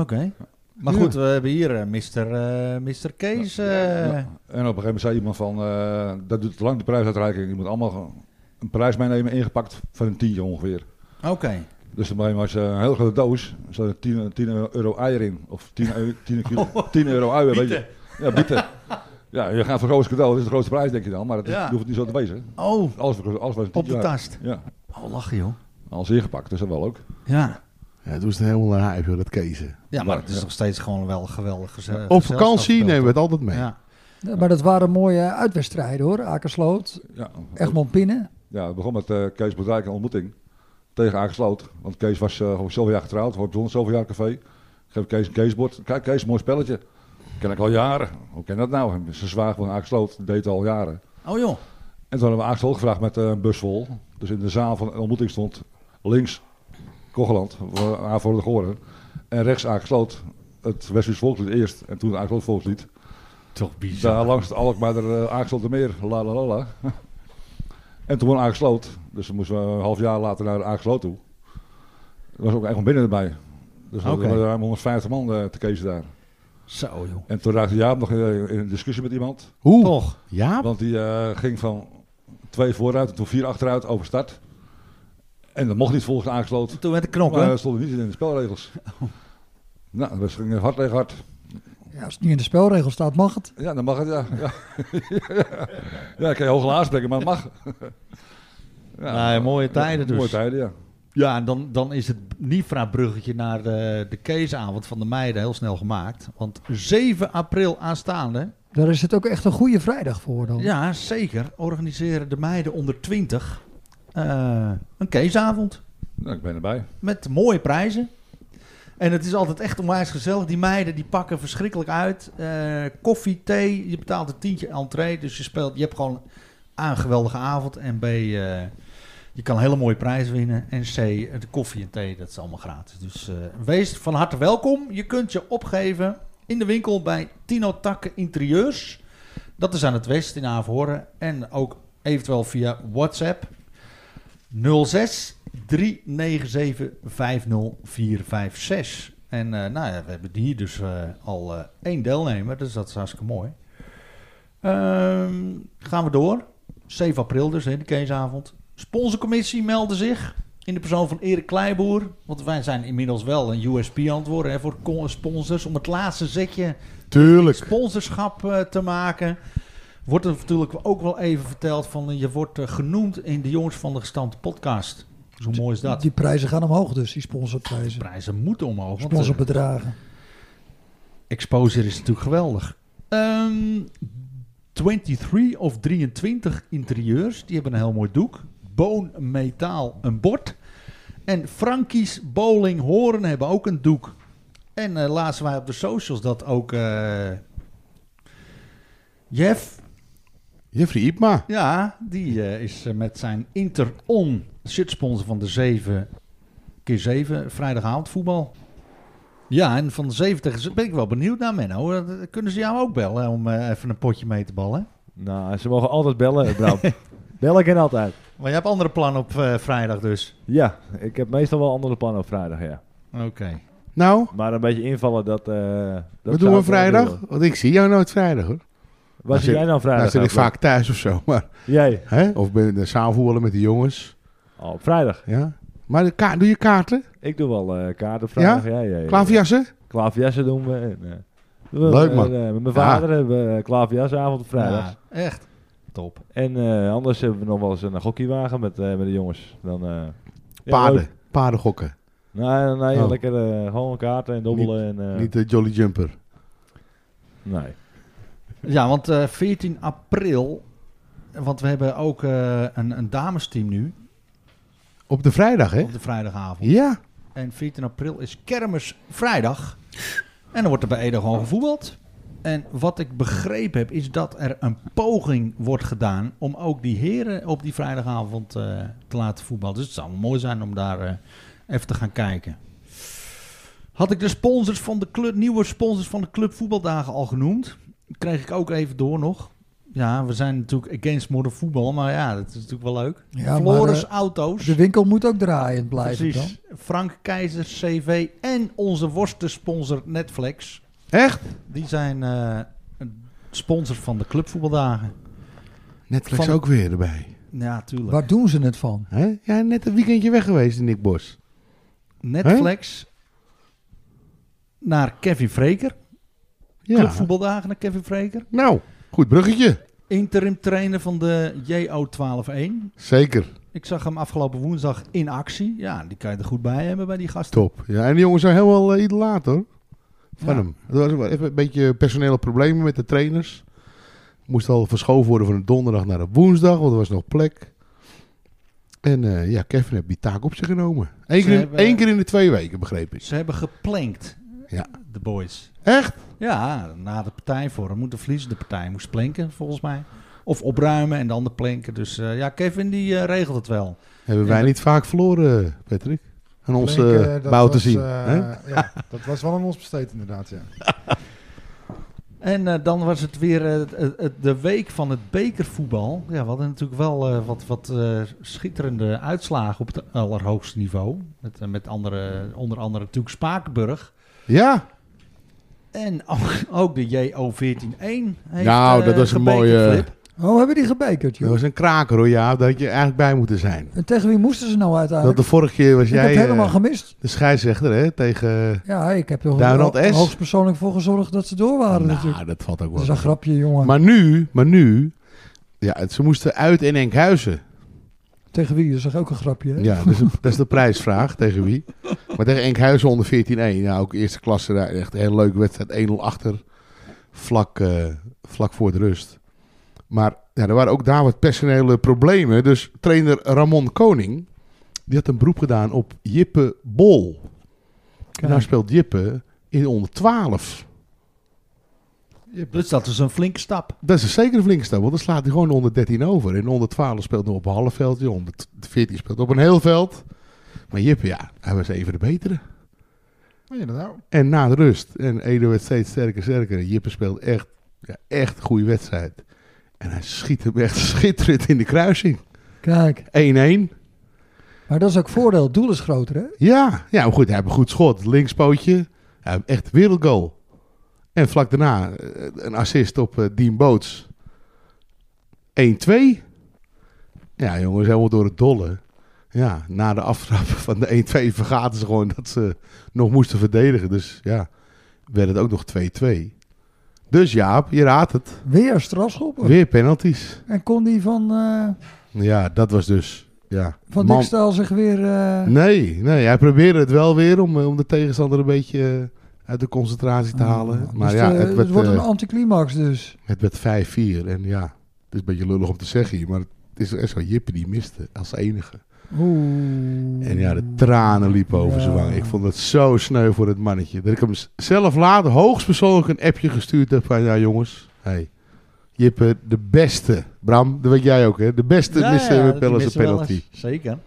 Oké. Maar
Ja.
goed, we hebben hier eh, Mr. eh, Mr. Kees. eh,
Ja. En op een gegeven moment zei iemand van, eh, dat duurt te lang, de prijsuitreiking. Je moet allemaal gewoon een prijs meenemen, ingepakt van een tientje ongeveer.
Oké.
Dus dan ben je maar een heel grote doos. Er zat 10, 10 euro eier in. Of 10, eu- 10, kilo, 10 euro uien, weet je. Ja, bieten. Ja, je gaat voor een groot cadeau. Dat is de grootste prijs, denk je dan. Maar dat is,
Ja.
je hoeft het niet zo te wezen.
Oh,
Alles, was- alles was een
op de
tientje uit.
tast.
Ja,
Oh, lachen joh.
alles ingepakt. Dus dat wel ook.
Ja.
Ja, toen is het helemaal naar huis, hoor, dat kezen.
Ja, maar
Maar,
het is
ja.
nog steeds gewoon wel geweldig. geze-
Op
gezelschap
vakantie
speelt.
nemen we het altijd mee.
Ja.
Ja, Maar dat waren mooie eh, uitwedstrijden hoor. Akersloot,
Ja,
Egmond Pinnen.
ja het begon met eh, Kees Bedrijk een ontmoeting. Tegen aangesloten. Want Kees was eh, voor zoveel jaar getrouwd. Voor John zoveel jaar café. Ik geef Kees een Keesbord. Kijk, Kees, mooi spelletje. Ken ik al jaren. Hoe ken dat nou? En Zijn zwaar van aangesloten. Deed het al jaren.
Oh joh.
En toen hebben we Axel gevraagd met eh, een bus vol. Dus in de zaal van de ontmoeting stond links Kogeland, aan voor de Goren. En rechts aangesloot het Westfries volkslied eerst en toen het Aangesloot volkslied.
Toch
Daar langs het Alkmaarder uh, Aangesloten meer, la la la la. En toen won Aangesloot, dus dan moesten we een half jaar later naar Aangesloot toe. Er was ook echt van binnen erbij. Dus we
Oké.
hadden ruim 150 man eh, te kiezen daar.
Zo joh.
En toen raakte Jaap nog eh, in een discussie met iemand.
Hoe?
Toch?
Ja,
Want die eh, ging van twee vooruit en toen vier achteruit over start. En dat mocht niet volgens aangesloten.
Toen werd de
Maar
knokken.
dat stond niet in de spelregels. Nou, dat ging hard tegen hard.
Ja, als het niet in de spelregels staat, mag het.
Ja, dan mag het, ja. Ja, ja ik kan je hoog en laag spreken, maar het mag.
Nee, mooie tijden dus.
Mooie tijden, ja.
Ja, en dan, dan is het Nifra-bruggetje naar de, de Keesavond van de meiden heel snel gemaakt. Want 7 april aanstaande,
Daar is het ook echt een goede vrijdag voor dan.
ja zeker, organiseren de meiden onder 20 eh, een Keesavond.
Nou, ik ben erbij.
Met mooie prijzen. En het is altijd echt onwijs gezellig. Die meiden die pakken verschrikkelijk uit. Eh, koffie, thee. Je betaalt een tientje entree. Dus je speelt. Je hebt gewoon A, een geweldige avond. En B, eh, je kan een hele mooie prijs winnen. En C, de koffie en thee, dat is allemaal gratis. Dus eh, wees van harte welkom. Je kunt je opgeven in de winkel bij Tino Takken Interieurs. Dat is aan het west in Averhoorn. En ook eventueel via WhatsApp 06 397 50456. En eh, nou ja, we hebben hier dus eh, al eh, één deelnemer, dus dat is hartstikke mooi. Ehm, gaan we door. 7 april dus, hè, de Keesavond. Sponsorcommissie meldde zich in de persoon van Erik Kleiboer. Want wij zijn inmiddels wel een USP antwoorden hè, voor con- sponsors. Om het laatste zetje
tuurlijk.
sponsorschap eh, te maken. Wordt er natuurlijk ook wel even verteld van eh, je wordt eh, genoemd in de Jongens van de Gestampte podcast. Dus hoe mooi is dat?
Die prijzen gaan omhoog dus, die sponsorprijzen.
prijzen moeten omhoog. Want eh,
Sponsorbedragen.
exposure is natuurlijk geweldig. Ehm 23 of 23 interieurs, die hebben een heel mooi doek. Boon, metaal, een bord. En Frankie's Bowling Horen hebben ook een doek. En eh laatst wij op de socials dat ook eh, Jeff
Jeffrey Ipma.
Ja, die eh, is eh, met zijn Inter-On shirtsponsor van de 7 keer 7 vrijdagavond voetbal. Ja, en van de 70 is- ben ik wel benieuwd naar Menno. Eh, Kunnen ze jou ook bellen om eh, even een potje mee te ballen?
Nou, ze mogen altijd bellen, Bram. bellen kan altijd.
Maar je hebt andere plannen op eh, vrijdag dus.
Ja, ik heb meestal wel andere plannen op vrijdag, ja.
Oké.
Nou,
Maar een beetje invallen, dat... eh, dat zou
wat
ik
doen we
wel
vrijdag?
willen.
Want ik zie jou nooit vrijdag hoor.
Waar zit
zit-
jij dan vrijdag?
nou zit ik
ook, Bram?
vaak thuis of zo. Maar,
Jij?
hè? Of ben de zaalvoetballen met de jongens.
Oh, op vrijdag.
Ja. Maar de ka- doe je kaarten?
Ik doe wel eh kaarten op vrijdag. Ja? Ja, ja, ja.
Klaverjassen?
Klaverjassen doen we. En, eh, doen we,
Leuk,
eh,
man.
eh, met mijn
Ja.
vader hebben we eh, klaverjasavond op vrijdag.
Ja, echt. Top.
En eh, anders hebben we nog wel eens een gokiewagen met, eh, met de jongens. Dan, eh, ja,
Paarden.
leuk.
Paardengokken.
Nee, nee, nee,
Oh.
lekker eh, gewoon kaarten en dobbelen. en, eh,
Niet de Jolly Jumper.
Nee.
Ja, want eh, 14 april, want we hebben ook eh, een, een damesteam nu
Op de vrijdag, hè?
op de vrijdagavond.
Ja.
En 14 april is kermis vrijdag. En dan wordt er bij Ede gewoon gevoetbald. En wat ik begrepen heb, is dat er een poging wordt gedaan om ook die heren op die vrijdagavond eh, te laten voetballen. Dus het zou mooi zijn om daar eh, even te gaan kijken. Had ik de sponsors van de club, nieuwe sponsors van de club voetbaldagen al genoemd? Kreeg ik ook even door nog. Ja, we zijn natuurlijk against modern voetbal, maar ja, dat is natuurlijk wel leuk.
Ja, maar,
Floris
eh,
Auto's.
De winkel moet ook draaiend blijven dan.
Precies. Frank Keizer, CV en onze worstensponsor Netflix.
Echt?
Die zijn eh, een sponsor van de clubvoetbaldagen.
Netflix
Van-
ook weer erbij.
Ja, tuurlijk.
Waar doen ze het van?
Hè? Ja, net een weekendje weg geweest, Nick Bos.
Netflix naar Kevin Vreker.
Ja.
Clubvoetbaldagen naar Kevin Vreker.
Nou, goed bruggetje.
Interim trainer van de JO121.
Zeker.
Ik zag hem afgelopen woensdag in actie. Ja, die kan je er goed bij hebben bij die gasten.
Top. Ja, en die jongens zijn helemaal uh, idolaat hoor. Van
Ja.
hem. Het was wel even een beetje personele problemen met de trainers. Moest al verschoven worden van de donderdag naar de woensdag, want er was nog plek. En eh, ja, Kevin heeft die taak op zich genomen. Eén
Ze
keer, in-
hebben-
één keer in de twee weken, begreep ik.
Ze hebben geplankt,
Ja.
de boys.
Echt?
Ja, na de partijvorm moet de verliezen. De partij moest planken, volgens mij. Of opruimen en dan de planken. Dus eh, ja, Kevin die eh, regelt het wel.
Hebben
Ja,
wij
dat-
niet vaak verloren, eh, Patrick? Aan ons
Blink,
eh,
eh, dat
bouw te
was,
zien.
eh,
hè?
ja, dat was wel aan ons besteed inderdaad, ja.
En eh, dan was het weer eh, het- het- het- de week van het bekervoetbal. Ja, we hadden natuurlijk wel eh, wat, wat eh, schitterende uitslagen op het allerhoogste niveau. Met, eh, met andere, onder andere natuurlijk Spakenburg.
Ja,
En ook, ook de JO141 heeft
Nou, dat
eh,
was een
gebekerd,
mooie-
Flip.
Oh, hebben die gebekerd,
dat
joh?
was een kraker hoor, ja. Daar had je eigenlijk bij moeten zijn.
En tegen wie moesten ze nou
Want
uiteindelijk?
de vorige keer was
ik heb
jij
het
eh,
helemaal gemist.
de scheidsrechter hè, tegen...
Ja, ik heb er
Duinrand
ho-
S.
hoogstpersoonlijk voor gezorgd Oh, dat ze door waren natuurlijk.
nou, dat valt ook
Dat
wel.
is een grapje, jongen.
Maar nu, maar nu... Ja, het- ze moesten uit in Enkhuizen.
Tegen wie? Dat is toch ook een grapje, hè?
Ja, dat is, een- dat is de prijsvraag. Tegen wie? Maar tegen Enkhuizen onder 14-1. Nou, ook eerste klasse. daar Echt een hele leuke wedstrijd. 1-0 achter. Vlak, eh, vlak voor de rust. Maar ja, er waren ook daar wat personele problemen. Dus trainer Ramon Koning... Die had een beroep gedaan op Jippe Bol. En daar speelt Jippe in onder 12.
Dus dat is een flinke stap.
Dat is zeker een flinke stap, want dan slaat hij gewoon onder 13 over. En onder 12 speelt nog op een half veld, die onder 14 speelt op een heel veld. Maar Jip, ja, hij was even de betere.
Meen je dat nou?
En na de rust, en Edo werd steeds sterker, sterker. En Jippe speelt echt, ja, echt een goede wedstrijd. En hij schiet hem echt schitterend in de kruising. 1-1.
Kijk, maar dat is ook voordeel. Het doel is groter, hè?
Ja, ja, maar goed, hij heeft een goed schot. Linkspootje, hij heeft echt wereldgoal. En vlak daarna eh, een assist op eh, Dean Boots. 1-2. Ja, jongens, helemaal door het dolle. Ja, na de aftrap van de 1-2 vergaten ze gewoon dat ze nog moesten verdedigen. Dus ja, werd het ook nog 2-2. Dus Jaap, je raadt het.
Weer strafschoppen.
Weer penalties.
En kon die van, eh
Ja, dat was dus... Ja,
van
man-
Dikstaal zich weer... eh,
Nee, nee, hij probeerde het wel weer om, eh, om de tegenstander een beetje eh, uit de concentratie te halen.
Ah,
maar
dus
ja,
de-
het
het,
werd,
wordt een
eh,
anticlimax dus.
het werd 5-4. En ja, het is een beetje lullig om te zeggen hier, maar het is echt zo Jippe die miste als enige.
Oeh.
En ja, de tranen liepen over zijn
Ja.
wangen. Ik vond het zo sneu voor het mannetje. Dat ik hem s- zelf later hoogstpersoonlijk een appje gestuurd heb van, ja jongens, hey, Jippe, de beste. Bram, dat weet jij ook hè, de beste
Ja,
missen
ja,
met
die
wel eens een
missen wel
penalty.
eens. Zeker.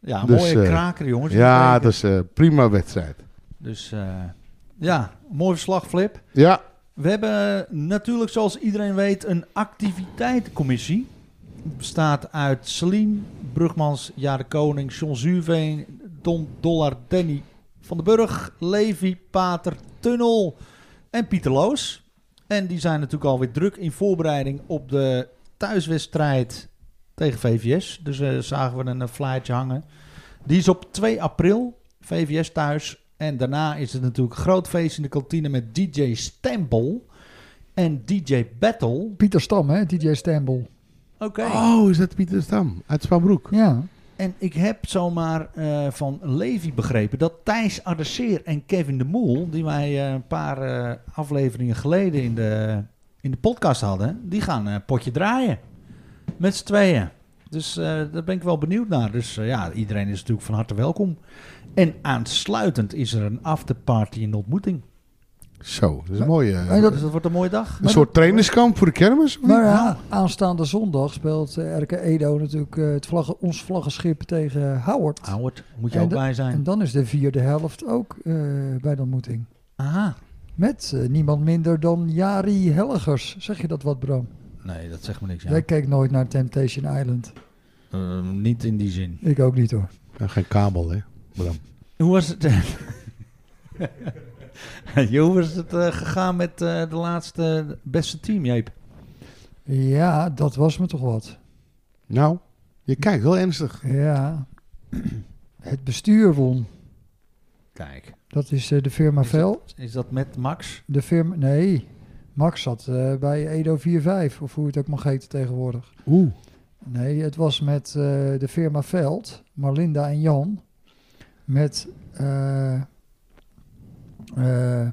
Ja,
Dus,
mooie
eh,
kraker, jongens.
Ja,
Kraker.
dat is een prima wedstrijd.
Dus eh, ja, mooi verslag, Flip.
Ja,
We hebben eh, natuurlijk, zoals iedereen weet, een activiteitencommissie. Het bestaat uit Selim, Brugmans, Jare Koning, John Zuurveen, Don Dollar, Danny van den Burg, Levi, Pater, Tunnel en Pieter Loos. En die zijn natuurlijk alweer druk in voorbereiding op de thuiswedstrijd tegen VVS. Dus eh, zagen we een eh, flyertje hangen. Die is op 2 april, VVS thuis. En daarna is het natuurlijk een groot feest in de kantine met DJ Stempel en DJ Battle.
Pieter Stam, hè? DJ Stambel.
Oké.
oh, is dat Pieter Stam uit Spaanbroek?
Ja.
En ik heb zomaar eh, van Levi begrepen dat Thijs Adesseer en Kevin de Moel, die wij eh, een paar eh, afleveringen geleden in de, in de podcast hadden, die gaan een potje draaien. Met z'n tweeën. Dus eh, daar ben ik wel benieuwd naar. Dus eh, ja, iedereen is natuurlijk van harte welkom. En aansluitend is er een afterparty en ontmoeting.
Zo, dat is een mooie... eh,
En dat-
Dus dat wordt een mooie dag.
een soort trainerskamp voor de kermis? of niet?
Maar ja, aanstaande zondag speelt eh, RK Edo natuurlijk eh, het vlaggen, ons vlaggenschip tegen Howard.
Howard, moet je
En
ook
de-
bij zijn.
En dan is de vierde helft ook eh, bij de ontmoeting.
Aha.
Met eh, niemand minder dan Jari Helligers. Zeg je dat wat, Bram?
Nee, dat zegt me niks. Ja.
Jij keek nooit naar Temptation Island.
Eh, niet in die zin.
Ik ook niet hoor.
Ja, geen kabel, hè? Bram.
Hoe was het? Jo, hoe is het eh, gegaan met eh, de laatste beste team, Jeep?
Ja, dat was me toch wat.
Nou, je kijkt wel ernstig.
Ja. Het bestuur won.
Kijk.
Dat is eh, de firma
Is dat-
Vel.
Is dat met Max?
De firma... Nee, Max zat eh, bij Edo 45, of hoe het ook mag heten tegenwoordig.
Oeh.
Nee, het was met eh, de firma Veld, Marlinda en Jan. Met eh, eh,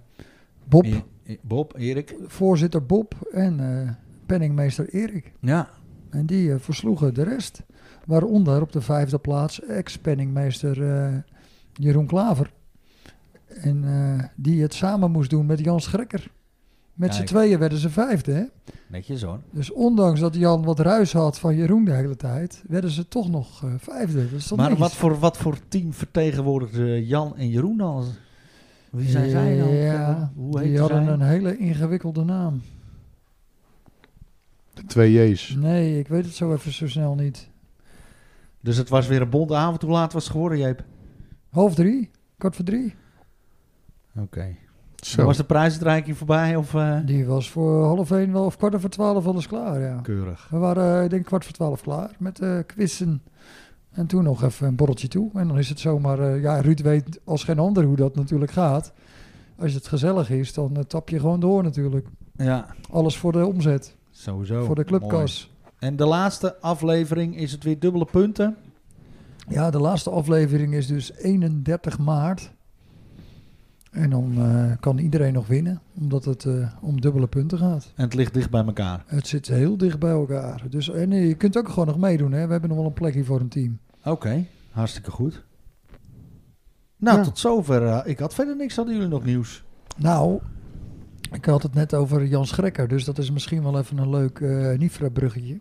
Bob,
E- E- Bob, Erik.
voorzitter Bob en eh, penningmeester Erik.
Ja.
En die eh, versloegen de rest. Waaronder op de vijfde plaats ex-penningmeester eh, Jeroen Klaver. En eh, die het samen moest doen met Jan Schrekker. Met z'n
Kijk.
tweeën werden ze vijfde. Hè?
Netjes hoor.
Dus ondanks dat Jan wat ruis had van Jeroen de hele tijd, werden ze toch nog eh, vijfde. Dat is toch
Maar
netjes?
wat voor, wat voor team vertegenwoordigde Jan en Jeroen dan? Wie zijn zij dan?
Eh,
eh?
Ja,
Hoe
die
heet
hadden
zij?
een hele ingewikkelde naam.
De twee J's.
Nee, ik weet het zo even zo snel niet.
Dus het was weer een bonte avond. Hoe laat was het geworden, Jeep?
Half drie, kwart voor drie.
Oké.
Zo.
Was de prijsuitreiking voorbij? Of, eh?
Die was voor half één wel of kwart voor twaalf alles klaar, ja.
Keurig.
We waren, eh, ik denk kwart voor twaalf klaar met eh quizzen. En toen nog even een borreltje toe. En dan is het zomaar... eh, ja, Ruud weet als geen ander hoe dat natuurlijk gaat. Als het gezellig is, dan eh, tap je gewoon door natuurlijk.
Ja,
Alles voor de omzet,
sowieso.
voor de
Mooi.
clubkas.
En de laatste aflevering is het weer dubbele punten.
Ja, de laatste aflevering is dus 31 maart. En dan eh, kan iedereen nog winnen, omdat het eh, om dubbele punten gaat.
En het ligt dicht bij elkaar.
Het zit heel dicht bij elkaar. Dus, en eh, je kunt ook gewoon nog meedoen. Hè? We hebben nog wel een plekje voor een team.
Oké, hartstikke goed. Nou,
Ja.
tot zover. eh, ik had verder niks. Hadden jullie nog nieuws?
Nou, ik had het net over Jan Schrekker, dus dat is misschien wel even een leuk eh Nifra-bruggetje.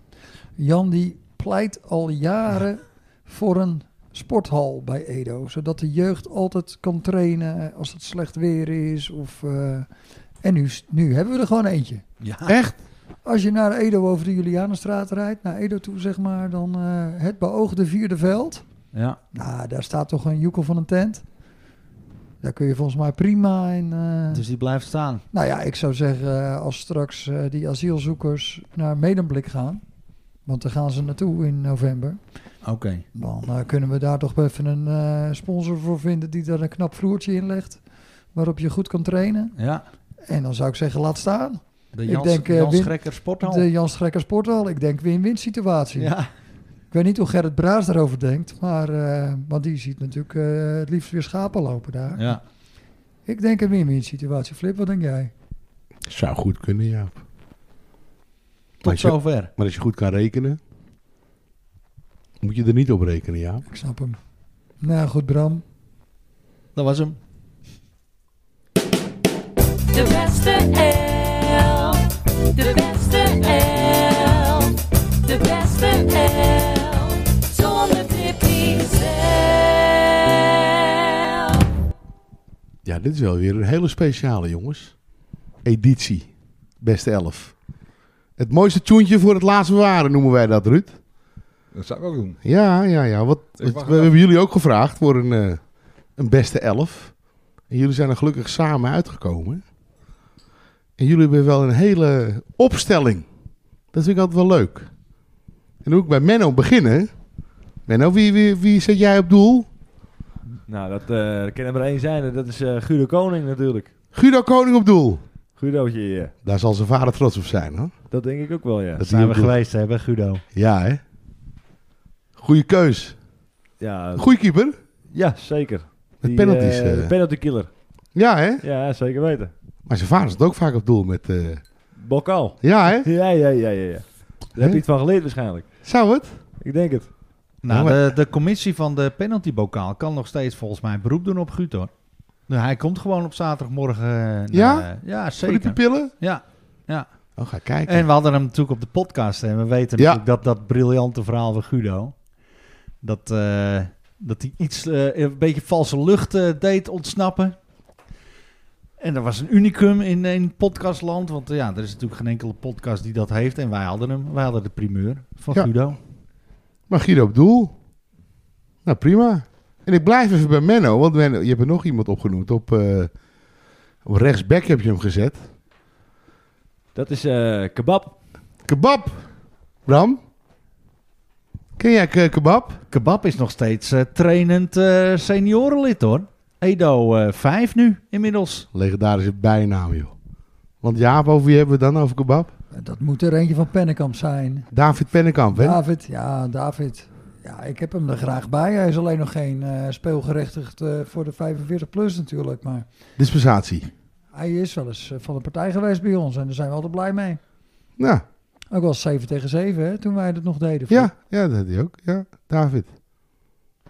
Jan die pleit al jaren voor een sporthal bij Edo, zodat de jeugd altijd kan trainen als het slecht weer is. Of, eh, en nu, nu hebben we er gewoon eentje.
Ja.
Echt?
Als je naar Edo over de Julianenstraat rijdt, naar Edo toe zeg maar, dan eh, het beoogde vierde veld.
Ja.
Nou, daar staat toch een joekel van een tent. Daar kun je volgens mij prima in... eh,
Dus die blijft staan.
nou ja, ik zou zeggen, eh, als straks eh, die asielzoekers naar Medemblik gaan, want daar gaan ze naartoe in november,
Oké.
dan eh, kunnen we daar toch even een eh, sponsor voor vinden die daar een knap vloertje in legt, waarop je goed kan trainen.
Ja.
En dan zou ik zeggen, laat staan.
De
Ik
Jans,
denk, eh,
Jans
Wim-
Schrekker Sporthal.
De Jan Strekker Sporthal, ik denk win-win situatie.
Nou. Ja.
Ik weet niet hoe Gerrit Braas daarover denkt, maar eh, want die ziet natuurlijk eh, het liefst weer schapen lopen daar.
ja.
Ik denk een win-win situatie. Flip, wat denk jij?
Zou goed kunnen, Jaap. Maar
Tot
als, je,
zover.
maar als je goed kan rekenen, moet je er niet op rekenen, Jaap.
Ik snap hem. Nou goed, Bram.
Dat was hem.
De beste elf. De beste elf. De beste elf. Zonder Tippy zelf.
Ja, Ja, dit is wel weer een hele speciale, jongens. Editie. Beste elf. Het mooiste tjoentje voor het laatst bewaren noemen wij dat, Ruud.
Dat zou ik ook doen.
Ja, ja, ja. Wat,
Ik
wat-
wacht
we
af.
hebben jullie ook gevraagd voor een, eh, een beste elf. En jullie zijn er gelukkig samen uitgekomen. En jullie hebben wel een hele opstelling. Dat vind ik altijd wel leuk. En dan wil ik bij Menno beginnen. Menno, wie, wie, wie zet jij op doel?
Nou, dat eh kan er maar één zijn. en Dat is eh Guido Koning natuurlijk.
Guido Koning op doel.
Guidootje, ja.
Daar zal zijn vader trots op zijn, hoor.
dat denk ik ook wel, ja.
Dat
zijn we
hij op doel-
geweest, hè, bij Guido.
Ja, hè? Goeie keus.
Ja,
Goeie keeper.
ja zeker.
Met
Die,
penalties.
eh,
eh.
penalty killer.
Ja, hè?
Ja, zeker weten.
Maar zijn vader zat ook vaak op doel met... eh,
Bokaal.
Ja, hè?
Ja, ja, ja, ja. ja. Daar
Hm?
heb
Hè?
je iets van geleerd waarschijnlijk.
Zou het?
Ik denk het.
Ja,
Nou,
maar-
de, de commissie van de penaltybokaal kan nog steeds volgens mij beroep doen op Guut, hoor. Nou, hij komt gewoon op zaterdagmorgen. eh,
Ja?
naar- ja,
Voor de
zeker.
pupillen?
Ja.
Oh, ga kijken.
En we hadden hem natuurlijk op de podcast. En we weten
Ja.
natuurlijk dat dat briljante verhaal van Guido... dat, eh, dat hij iets, eh, een beetje valse lucht eh, deed ontsnappen. En dat was een unicum in, in podcastland. Want eh, ja, er is natuurlijk geen enkele podcast die dat heeft. En wij hadden hem. Wij hadden de primeur van
Ja.
Guido.
Maar Guido op doel. Nou, prima. En ik blijf even bij Menno, want Menno, je hebt er nog iemand opgenoemd. Op, eh, op rechtsback heb je hem gezet.
Dat is eh, kebab.
Kebab! Bram? Ken jij ke- kebab?
Kebab is nog steeds eh, trainend eh, seniorenlid hoor. Edo eh 5 nu inmiddels.
Legendarische bijnaam, joh. Want Jaap, over wie hebben we het dan over kebab?
Dat moet er eentje van Pennekamp zijn.
David Pennekamp, hè?
David, ja, David. Ja, ik heb hem er graag bij. Hij is alleen nog geen eh, speelgerechtigd eh, voor de 45-plus natuurlijk. Maar
Dispensatie.
hij is wel eens eh, van de partij geweest bij ons. En daar zijn we altijd blij mee.
Nou,
Ook wel 7 tegen 7, hè, toen wij dat nog deden.
ja, ja, dat had hij ook. Ja, David.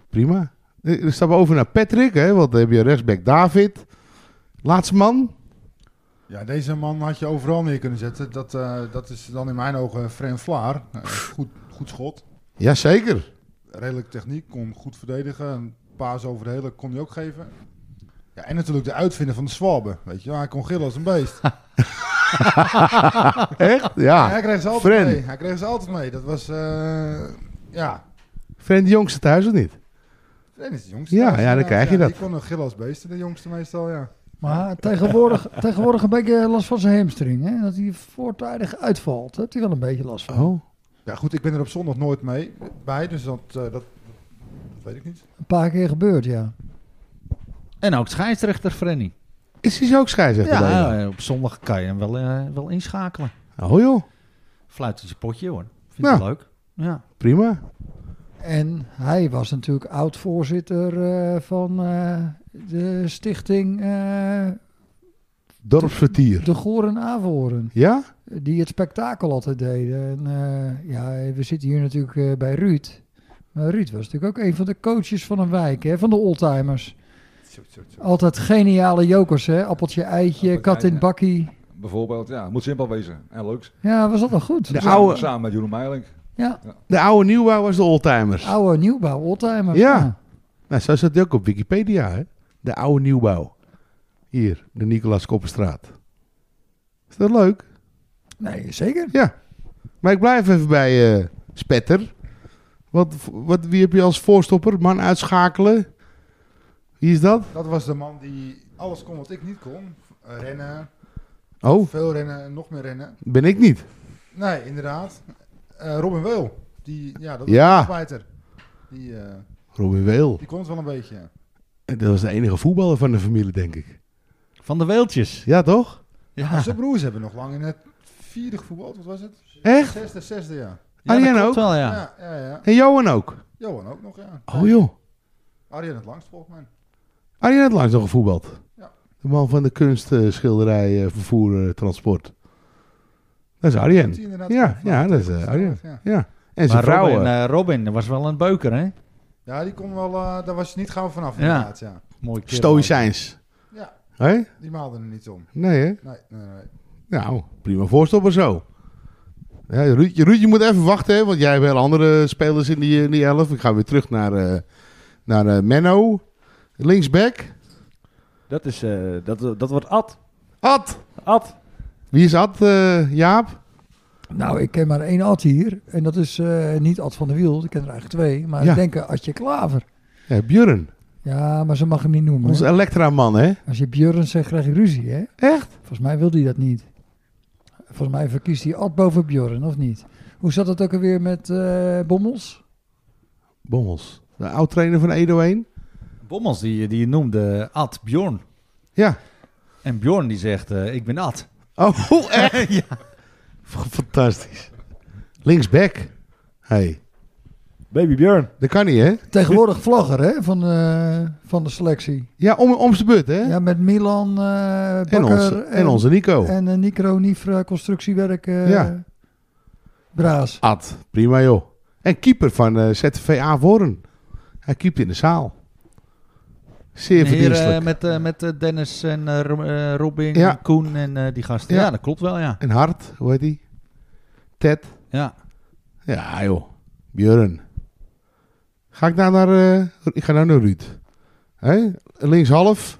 Prima. Eh, Dan stappen we over naar Patrick, hè? Want dan heb je rechtsback David. Laatste man.
Ja, deze man had je overal neer kunnen zetten. Dat, eh, dat is dan in mijn ogen Fren Vlaar. Eh, goed, goed schot,
Jazeker.
redelijk techniek, kon goed verdedigen. Een paas over de hele kon hij ook geven. Ja, en natuurlijk de uitvinder van de Swalbe. Weet je, wel. hij kon gillen als een beest.
Echt?
Ja,
Ja.
hij kreeg ze altijd
Fren.
mee. Hij kreeg ze altijd mee. Dat was, eh, ja,
Fren de jongste thuis of niet?
Fren is de jongste.
Ja,
thuis,
ja, dan
inderdaad.
krijg je dat.
Die kon een gillen als beesten, de jongste meestal, ja.
Maar tegenwoordig, tegenwoordig een beetje last van zijn hamstring. Hè? Dat hij voortijdig uitvalt. Daar heeft hij wel een beetje last van.
Oh.
Ja, goed, ik ben er op zondag nooit mee bij, dus dat, eh, dat, dat weet ik niet.
Een paar keer gebeurd, ja.
En ook scheidsrechter Frenny.
Is hij zo ook scheidsrechter?
Ja,
Ja.
eh, op zondag kan je hem wel, eh, wel inschakelen.
Oh joh,
Fluit in zijn potje hoor. Vind
Nou.
ik leuk. Ja.
prima.
En hij was natuurlijk oud-voorzitter eh, van eh, de stichting eh,
Dorpsvertier.
De Goren Avoren.
Ja?
die het spektakel altijd deden. En, eh, ja, we zitten hier natuurlijk eh, bij Ruud. Maar Ruud was natuurlijk ook een van de coaches van een wijk, hè, van de oldtimers. Altijd geniale jokers, hè? Appeltje, eitje,
Appeltje,
kat in
ja.
het bakkie.
Bijvoorbeeld, ja. Moet simpel wezen. En leuk.
Ja, was dat nog goed?
De
Dus-
oude,
Samen met Jeroen Meijlink.
ja,
de oude nieuwbouw was de oldtimers.
oude nieuwbouw, oldtimers.
Ja. Nou, zo staat hij ook op Wikipedia, hè? De oude nieuwbouw. Hier, de Nicolaas Koppenstraat. Is dat leuk?
Nee, zeker.
Ja. Maar ik blijf even bij eh, Spetter. Wat, wat, wie heb je als voorstopper? Man uitschakelen? Wie is dat?
Dat was de man die alles kon wat ik niet kon. Eh, Rennen,
Oh,
veel rennen en nog meer rennen.
ben ik niet.
Nee, inderdaad. Eh, Robin Weel, die, ja, dat
Ja.
was een spijter. Die, eh,
Robin Weel.
die kon het wel een beetje. ja.
Dat was de enige voetballer van de familie, denk ik.
Van de Weeltjes.
Ja, toch? Ah.
Maar zijn broers hebben nog lang in het vierde gevoetbald, wat was het?
Echt?
Zesde, zesde, ja.
Ja, dat
Arjen
klopt
ook?
wel, ja.
Ja, ja, ja.
En Johan ook.
Johan ook nog, ja.
Oh joh.
Arjen het langst volgens mij.
Arjen had langs nog gevoetbald.
Ja.
De man van de kunstschilderij, schilderij, eh, vervoer, eh, transport. Dat is
Zie je
Arjen.
inderdaad
Ja,
vanaf
ja, dat is eh,
de
Arjen.
snelweg, ja.
Ja. En
Maar
zijn vrouw.
Robin,
eh,
eh, Robin dat was wel een beuker hè.
Ja, die kon wel, eh, daar was je niet gauw vanaf
Ja.
inderdaad, ja.
Mooi kerel.
Stoïcijns.
Ja,
Hé?
die maalden er niet om.
Nee, hè?
Nee, nee, nee.
Nou, prima voorstopper zo. Ja, Ruud, Ruud, je moet even wachten, hè, want jij hebt heel andere spelers in die, in die elf. Ik ga weer terug naar, eh, naar eh, Menno. Linksback.
Dat, is, eh, dat, dat wordt Ad.
Ad!
Ad.
Wie is Ad, eh, Jaap?
Nou, ik ken maar één Ad hier. En dat is eh, niet Ad van der Wiel. Ik ken er eigenlijk twee. Maar
Ja.
ik denk eh, Adje Klaver.
Ja, Björn.
Ja, maar ze mag hem niet noemen.
Onze
hè.
Elektra-man, hè?
Als je Björn zegt, krijg je ruzie, hè?
Echt?
Volgens mij wil hij dat niet. Volgens mij verkiest hij Ad boven Bjorn, of niet? Hoe zat dat ook alweer met eh, Bommels?
Bommels. De oud-trainer van Edo 1.
Bommels die, je- die je noemde eh, Ad Bjorn.
Ja.
En Bjorn die zegt, eh, ik ben Ad.
Oh, echt? ja. Fantastisch. Linksback. Hey,
Baby Björn.
dat kan niet, hè?
Tegenwoordig vlagger, hè, van, eh, van de selectie.
Ja, om, om zijn beurt, hè?
Ja, met Milan, eh Bakker
en, onze, en, onze Nico.
En eh, Nicro, Nifra, constructiewerk, eh,
Ja.
Braas.
Ad, prima joh. En keeper van eh ZTV Avoren. Hij keept in de zaal. Zeer
Een heer, eh,
verdienstelijk.
met eh, met eh, Dennis en eh, Ro- eh, Robin,
Ja.
en Koen en eh, die gasten.
Ja.
Ja. dat klopt wel, ja.
En Hart, hoe heet die? Ted.
ja.
Ja joh. Björn. Ga ik nou naar, eh, ik ga nou naar Ruud. Hè? Linkshalf.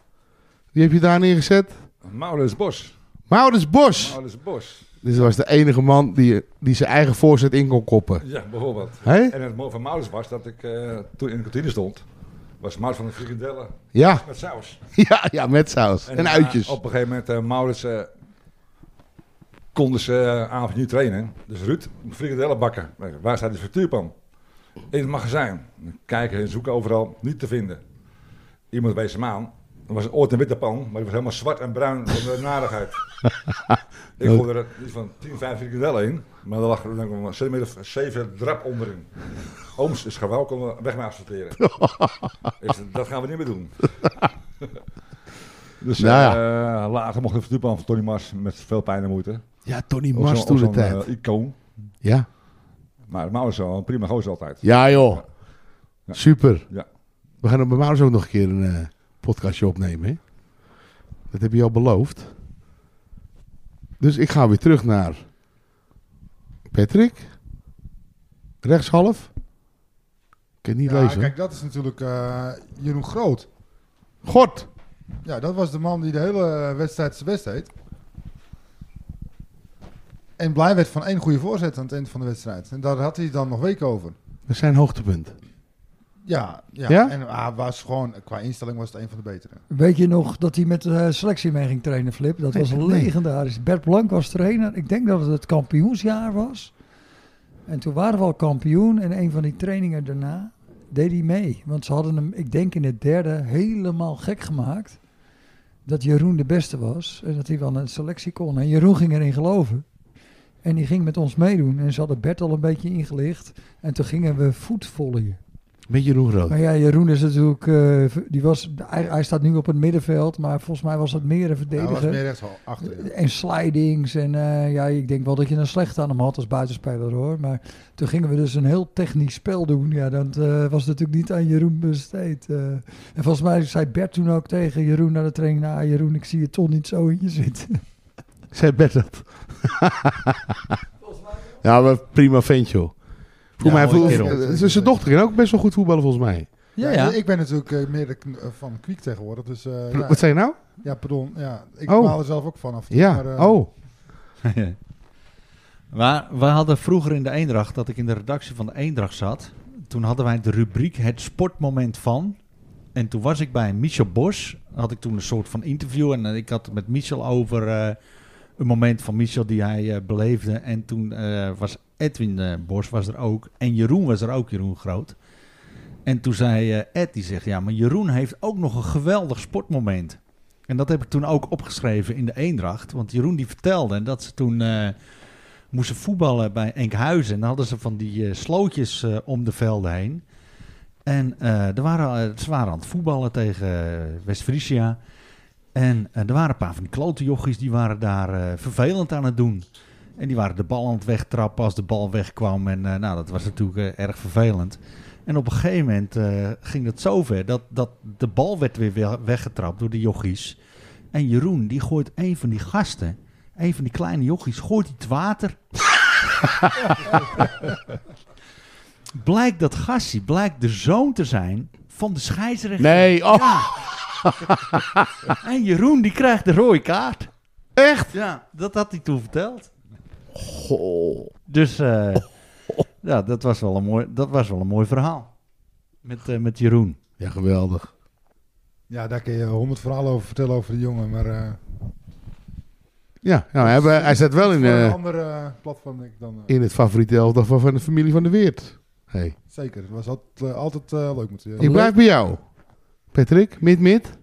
Wie heb je daar neergezet?
Maurits Bos.
Maurits Bos.
Maurits Bos.
Dus dat was de enige man die, die zijn eigen voorzet in kon koppen.
Ja, bijvoorbeeld.
Hè?
En het mooie van Maurits was dat ik eh, toen in de kantine stond, was Maurits van de frikandellen
Ja,
met saus.
ja, ja, met saus. En,
eh,
uitjes.
op een gegeven moment, eh Maurits eh, konden ze eh, avond niet trainen. Dus Ruud, frikandellen bakken. Ik zeg, Waar staat die frituurpan? In het magazijn. Kijken en zoeken overal, niet te vinden. Iemand wees hem aan. Er was ooit een witte pan, maar die was helemaal zwart en bruin van de narigheid. ik gooi er iets van 10, 5 frikandellen in, maar er lag er denk ik, een centimeter of 7 drap onderin. Ooms is gewoon kon weg maar sorteren. Ik zeg, dat gaan we niet meer doen. dus
Nou ja.
eh, later mocht ik de verduurpan van Tony Mars met veel pijn en moeite.
Ja, Tony
Ook
Mars
zo'n-
toen de
ook zo'n,
tijd.
eh, icoon.
ja.
Maar Maurits is wel een prima gozer altijd.
ja, joh.
Ja.
Super.
Ja.
We gaan er bij Maurits ook nog een keer een eh, podcastje opnemen. Hè? Dat heb je al beloofd. Dus ik ga weer terug naar Patrick. Rechtshalf. Ik kan het niet
Ja,
lezen.
kijk, dat is natuurlijk eh, Jeroen Groot.
God.
Ja, dat was de man die de hele wedstrijd zijn best deed. En blij werd van één goede voorzet aan het eind van de wedstrijd. En daar had hij dan nog week over.
Dat zijn hoogtepunt.
Ja, ja.
Ja?
en hij was gewoon, qua instelling was het een van de betere.
Weet je nog dat hij met de selectie mee ging trainen, Flip? Dat
Nee,
was
nee.
legendarisch. Bert Blank was trainer. Ik denk dat het het kampioensjaar was. En toen waren we al kampioen. En een van die trainingen daarna deed hij mee. Want ze hadden hem, ik denk in het derde, helemaal gek gemaakt. Dat Jeroen de beste was. En dat hij wel een selectie kon. En Jeroen ging erin geloven. En die ging met ons meedoen. En ze hadden Bert al een beetje ingelicht. En toen gingen we voetvolleyen.
Met Jeroen Rood.
Maar ja, Jeroen is natuurlijk. eh, die was, hij, hij staat nu op het middenveld, maar volgens mij was dat meer een
Hij was
verdediger.
meer rechts al achter. ja.
En slidings. En eh, ja, ik denk wel dat je een slecht aan hem had als buitenspeler hoor. Maar toen gingen we dus een heel technisch spel doen. Ja, dat eh, was natuurlijk niet aan Jeroen besteed. eh. en volgens mij zei Bert toen ook tegen Jeroen na de training: Nou, Jeroen, ik zie je toch niet zo in je zitten.
Zij Bert dat. ja, maar prima ventje. joh. Voor
Ja,
mij
mooie
voel-
kerel.
eh, z- zijn dochter kan ook best wel goed voetballen volgens mij.
Ja, ja.
Ik ben natuurlijk eh, meer de kn- eh, van Kwiek tegenwoordig. Dus, eh, ja,
Wat zei je nou?
ja, pardon. Ja, ik
Oh.
baal er zelf ook van af. en toe,
Ja,
maar, eh,
oh.
maar we hadden vroeger in de Eendracht, dat ik in de redactie van de Eendracht zat. Toen hadden wij de rubriek Het Sportmoment van. En toen was ik bij Michel Bos. Had ik toen een soort van interview. En eh, ik had het met Michel over eh, een moment van Michel die hij eh, beleefde. En toen eh, was Edwin eh, Bos was er ook. En Jeroen was er ook, Jeroen Groot. En toen zei eh, Ed, die zegt, ja, maar Jeroen heeft ook nog een geweldig sportmoment. En dat heb ik toen ook opgeschreven in de Eendracht. Want Jeroen die vertelde dat ze toen eh, moesten voetballen bij Enkhuizen. En dan hadden ze van die eh, slootjes eh, om de velden heen. En eh, er waren, eh, ze waren aan het voetballen tegen eh, West-Friesia. En eh, er waren een paar van die klote jochies die waren daar eh, vervelend aan het doen. En die waren de bal aan het wegtrappen als de bal wegkwam. En eh, nou, dat was natuurlijk eh, erg vervelend. En op een gegeven moment eh, ging het zover dat, dat de bal werd weer we- weggetrapt door de jochies. En Jeroen, die gooit een van die gasten, een van die kleine jochies, gooit die het water. blijkt dat gastie, blijkt de zoon te zijn van de scheidsrechter.
Nee, oh.
Ja. en Ah, Jeroen, die krijgt de rode kaart.
Echt?
Ja, dat had hij toen verteld. Dus eh, ja, dat was, wel een mooi, dat was wel een mooi verhaal. Met, eh, met Jeroen.
Ja, geweldig.
Ja, daar kun je honderd verhalen over vertellen over die jongen, maar... eh,
Ja, nou, hij, hij zat wel in,
voor een
eh,
andere eh, platform denk ik dan. eh.
in het favoriete elftal van van de familie van de Weert. Hey.
Zeker, het was altijd, eh, altijd eh, leuk met
Ik blijf bij jou. Patrick, mid-mid.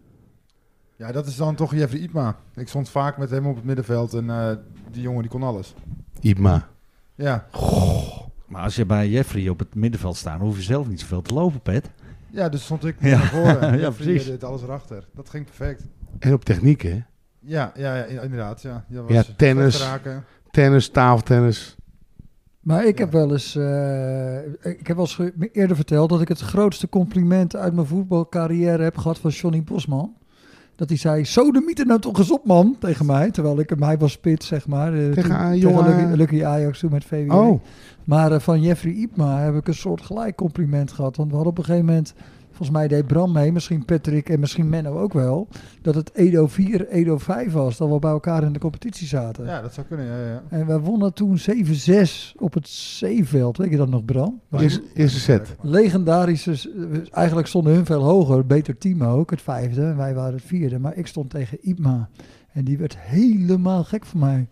Ja, dat is dan toch Jeffrey Ipma. Ik stond vaak met hem op het middenveld en eh, die jongen die kon alles.
Ibma.
Ja,
Maar als je bij Jeffrey op het middenveld staat, hoef je zelf niet zoveel te lopen, Pet.
ja dus stond ik
Ja.
naar voren.
Ja,
ja,
precies.
precies. deed alles erachter. Dat ging perfect.
En op techniek, hè?
Ja, ja, ja inderdaad. Ja, ja, was
Ja,
slecht
tennis.
te Raken.
Tennis, tafeltennis.
Maar ik
Ja.
heb wel eens, eh, ik heb wel eens ge- eerder verteld dat ik het grootste compliment uit mijn voetbalcarrière heb gehad van Johnny Bosman. Dat hij zei, zo de mythe nou toch eens op man, tegen mij. Terwijl ik hem, hij was spits, zeg maar. eh,
Tegen
toen-
A- jongen-
Lucky, Lucky Ajax toen met VW.
Oh,
Maar eh, van Jeffrey Ipma heb ik een soort gelijk compliment gehad. Want we hadden op een gegeven moment, volgens mij deed Bram mee, misschien Patrick en misschien Menno ook wel, dat het Edo 4, Edo 5 was, dat we bij elkaar in de competitie zaten.
Ja, dat zou kunnen. Ja, ja.
En wij wonnen toen 7-6 op het Zeeveld. Weet je dat nog, Bram?
eerste, eerste set.
Legendarische. s- eh, Eigenlijk stonden hun veel hoger. Beter team ook. Het vijfde. En wij waren het vierde. Maar ik stond tegen Ipma. En die werd helemaal gek van mij.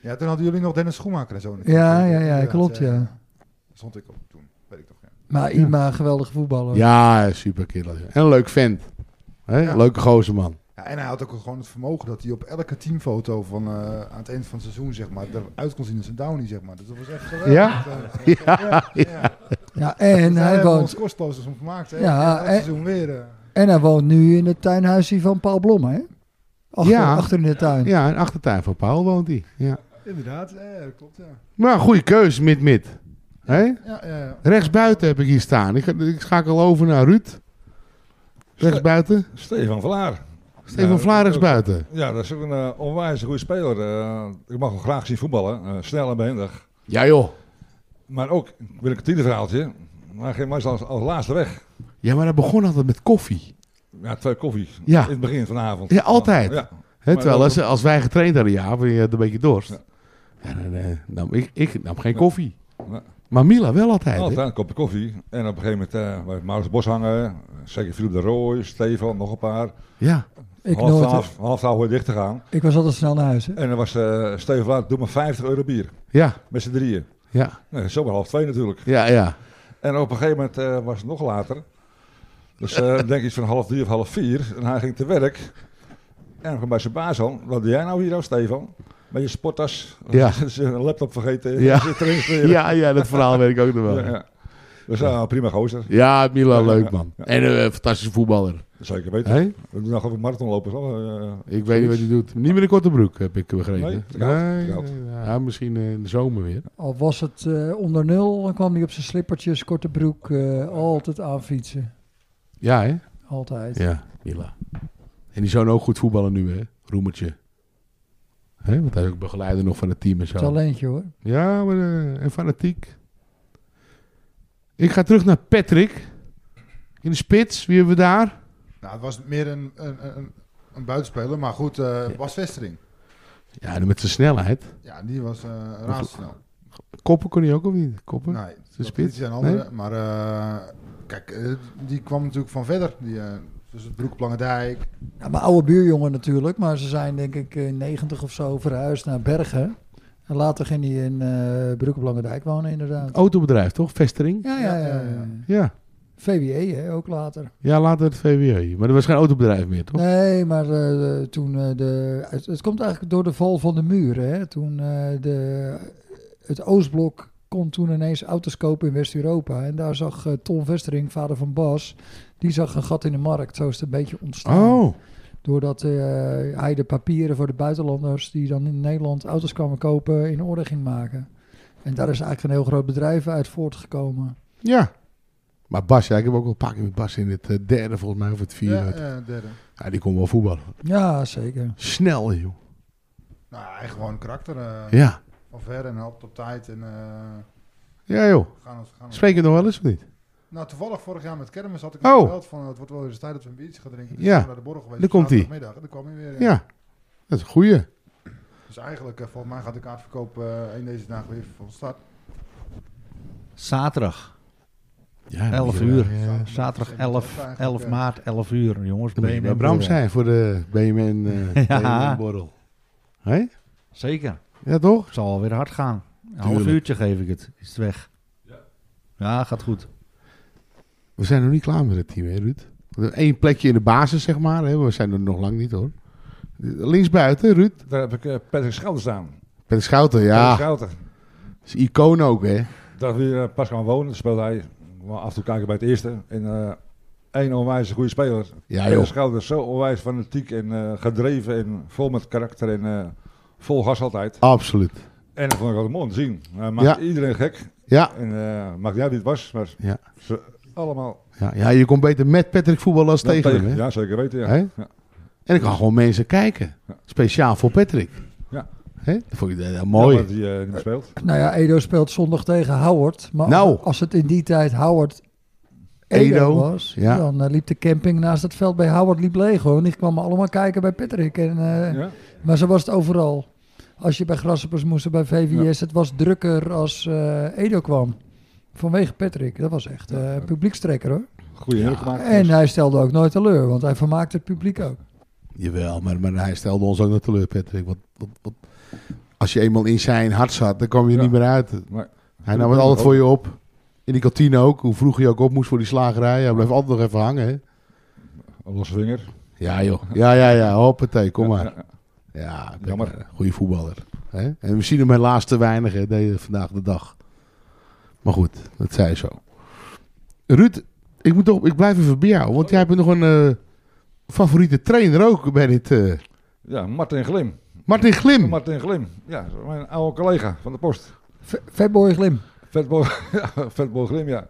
ja, toen hadden jullie nog Dennis Schoenmaker en zo. natuurlijk.
Ja, ja, ja.
Inderdaad,
Klopt, ja.
Daar stond ik op toen, weet ik nog. Ja.
Maar Ipma, geweldige voetballer.
Ja, super En een leuk vent. Hè?
Ja.
Leuke gozer, man.
Ja, en hij had ook gewoon het vermogen dat hij op elke teamfoto van eh, aan het eind van het seizoen, zeg maar, eruit kon zien als een downie, zeg maar. Dus dat was echt geweldig.
Ja?
Eh,
Ja,
Ja, en
Daar
hij
hebben we
woont,
ons kosteloos om gemaakt. Hè?
Ja,
Ja,
en-
seizoen weer. eh.
en hij woont nu in het tuinhuisje van Paul Blom, hè? Achter,
Ja.
achter in de tuin.
ja, een achtertuin van Paul woont hij. Ja.
Inderdaad, ja, ja, klopt. Ja.
Maar goede keus, mid-mid. Hè?
Ja, ja, ja.
Rechtsbuiten heb ik hier staan. Ik, ik schakel over naar Ruud. Rechtsbuiten.
Stefan Vlaar.
Steven
Ja,
Vlaar rechtsbuiten.
Ja, dat is ook een eh, onwijs goede speler. Eh, ik mag hem graag zien voetballen. Eh, snel en behendig.
Ja joh.
Maar ook, wil ik een tiende verhaaltje. Hij ging meestal als, als laatste weg.
Ja, maar dat begon altijd met koffie.
Ja, twee koffies.
Ja.
In het begin van de avond.
Ja, altijd.
Ja.
Hè,
Maar
terwijl
dat-
als, als wij getraind hadden, ja, we hadden een beetje dorst.
Ja.
Ja, dan, eh, nam ik, ik nam geen koffie.
Ja.
Maar Mila wel altijd. hè?
Altijd een kopje koffie. En op een gegeven moment eh bij Maurits Boshanger, zeker Philip de Rooij, Stefan, nog een paar.
Ja.
Ik,
half
nooit,
twaalf, half twaalf hoor je dicht te gaan.
ik was altijd snel naar huis, hè?
En dan was eh Stefan Vlaar, doe maar 50 euro bier.
Ja,
Met z'n drieën.
ja,
Nee, zomaar half twee natuurlijk.
ja, ja.
En op een gegeven moment eh, was het nog later. Dus eh, ik denk iets van half drie of half vier. En hij ging te werk. En kwam bij zijn baas aan. Wat doe jij nou hier nou, Stefan? Met je sporttas.
Ja.
Zijn laptop vergeten.
Ja.
Zit erin te leren.
Ja, ja, dat verhaal weet ik ook nog wel.
Ja, ja. Dus ja, prima gozer.
Ja, Mila,
Ja, ja,
leuk
ja,
man.
ja.
En een fantastische voetballer.
Zeker weten.
Hè?
We doen nog even marathonlopers. hoor. Eh,
Ik weet niet wat hij doet. Niet meer een korte broek, heb ik begrepen.
Nee, te koud, te koud.
nee, ja, misschien eh, in de zomer weer.
Al was het eh, onder nul, dan kwam hij op zijn slippertjes, korte broek, eh, altijd aanfietsen.
Ja, hè?
Altijd.
Ja, Mila. En die zoon ook goed voetballen nu, hè? Roemertje. Hè? Want hij is ook begeleider nog van het team en zo.
Talentje hoor.
Ja, maar, eh, en fanatiek. Ik ga terug naar Patrick. In de spits, wie hebben we daar?
Nou, het was meer een, een, een, een buitenspeler, maar goed, eh Bas Westering.
Ja, en met zijn snelheid.
Ja, die was eh razendsnel.
Koppen kon hij ook of niet? Koppen?
Nee,
de
dat
spits?
is een andere. Maar eh, kijk, eh, die kwam natuurlijk van verder. Die, eh, dus het Broek op Lange Dijk.
Ja, Nou, mijn oude buurjongen natuurlijk, maar ze zijn denk ik in 90 of zo verhuisd naar Bergen. En later ging hij in eh Broek op Lange Dijk wonen inderdaad.
Autobedrijf, toch? Vestering?
Ja, ja, ja.
Ja,
ja,
ja, ja.
Oh, Ja.
VWE hè, ook later.
Ja, later het VWE. Maar er was geen autobedrijf meer, toch?
Nee, maar eh, toen eh, de... Het, het komt eigenlijk door de val van de muren. Hè? Toen eh, de, het Oostblok kon toen ineens auto's kopen in West-Europa. En daar zag eh, Tom Westering, vader van Bas, die zag een gat in de markt. Zo is het een beetje ontstaan.
Oh,
Doordat eh, hij de papieren voor de buitenlanders die dan in Nederland auto's kwamen kopen in orde ging maken. En daar is eigenlijk een heel groot bedrijf uit voortgekomen.
ja. Maar Bas, ja, ik heb ook al een paar keer met Bas in het eh, derde, volgens mij, of het vierde.
Ja,
Ja,
eh, derde.
die kon wel voetballen.
Ja, zeker.
Snel, joh.
Nou, hij gewoon karakter. eh,
Ja.
Van verder en altijd op tijd. En eh
Ja, joh.
gaan als gaan. als-
Spreek je nog wel eens of niet?
Nou, toevallig vorig jaar met kermis had ik
Oh.
hem gebeld van het wordt wel eens tijd dat we een biertje gaan drinken. Dus
Ja.
zijn we naar de borrel geweest.
Daar komt-ie.
Middag, daar kwam hij weer. ja.
Ja, dat is een goeie.
Dus eigenlijk, eh, volgens mij gaat de kaartverkoop eh in deze dagen weer van start.
Zaterdag,
Ja,
11
moet je-
uur.
Ja.
Zaterdag 11, 11 maart, 11 uur, jongens.
Dan moet je bij
BNN
Bram
Boerderij.
zijn voor de BMN, eh
Ja.
BMN borrel. Hé?
eh, Zeker.
Ja, toch?
Het zal alweer hard gaan. Een half
Tuurlijk.
uurtje geef ik het. Is het weg. Ja, gaat goed.
We zijn nog niet klaar met het team, hè, Ruud? We hebben één plekje in de basis, zeg maar. Hè? We zijn er nog lang niet, hoor. Linksbuiten, Ruud.
Daar heb ik eh, Patrick Schouten staan.
Peter Schouten,
Patrick
ja.
Schouten.
is icoon ook, hè?
Dat we hier eh, pas gaan wonen. speelde hij wel af en toe kijken bij het eerste. En eh één onwijs goede speler.
Ja,
Peter
joh.
Schouten is zo onwijs fanatiek en eh, gedreven en vol met karakter en eh, vol gas altijd.
Absoluut.
En dat vond ik altijd mooi om te zien. Hij maakt
Ja.
iedereen gek.
Ja.
En eh maakt niet uit wie het was, maar
Ja.
ze allemaal
Ja, ja, je komt beter met Patrick voetballen als
dan
tegen hem, hè?
Ja, zeker weten. Ja.
Hè?
Ja.
En ik kan gewoon mensen kijken.
Ja.
Speciaal voor Patrick.
Ja.
Hè? Dat vond ik heel
Jammer
mooi.
dat hij eh, niet meer speelt.
Nou ja, Edo speelt zondag tegen Howard. Maar
Nou.
als het in die tijd Howard Edo,
Edo,
was,
ja.
dan eh, liep de camping naast het veld bij Howard liep leeg hoor. En die kwamen allemaal kijken bij Patrick. En, eh,
Ja.
Maar zo was het overal. Als je bij Grasshoppers moest of bij VVS, het was drukker als eh, Edo kwam. Vanwege Patrick, dat was echt eh, een publiekstrekker hoor.
Goede indruk gemaakt.
eh,
En hij stelde ook nooit teleur, want hij vermaakte het publiek ook.
Jawel, maar, maar hij stelde ons ook nog teleur, Patrick. Want, want- want als je eenmaal in zijn hart zat, dan kwam je er
Ja.
niet meer uit.
Maar-
hij nam het altijd voor je op. In die kantine ook. Hoe vroeg je ook op moest voor die slagerij. Hij bleef altijd nog even hangen, hè?
Een losse vinger.
Ja, joh. Ja, ja, ja. Hoppatee, kom maar.
Ja, ja.
Ja,
Jammer.
jammer. Goede voetballer. Hè? En we zien hem helaas te weinig hè, deze, vandaag de dag. Maar goed, dat zij zo. Ruud, ik, moet toch, ik blijf even bij jou.
Oh.
Want jij hebt nog een eh, favoriete trainer ook bij dit. eh,
Ja, Martin Glim.
Martin Glim.
Martin Glim. Ja, mijn oude collega van de post.
V- Fatboy Glim.
Vetbol, ja, Vetbol Glim, ja.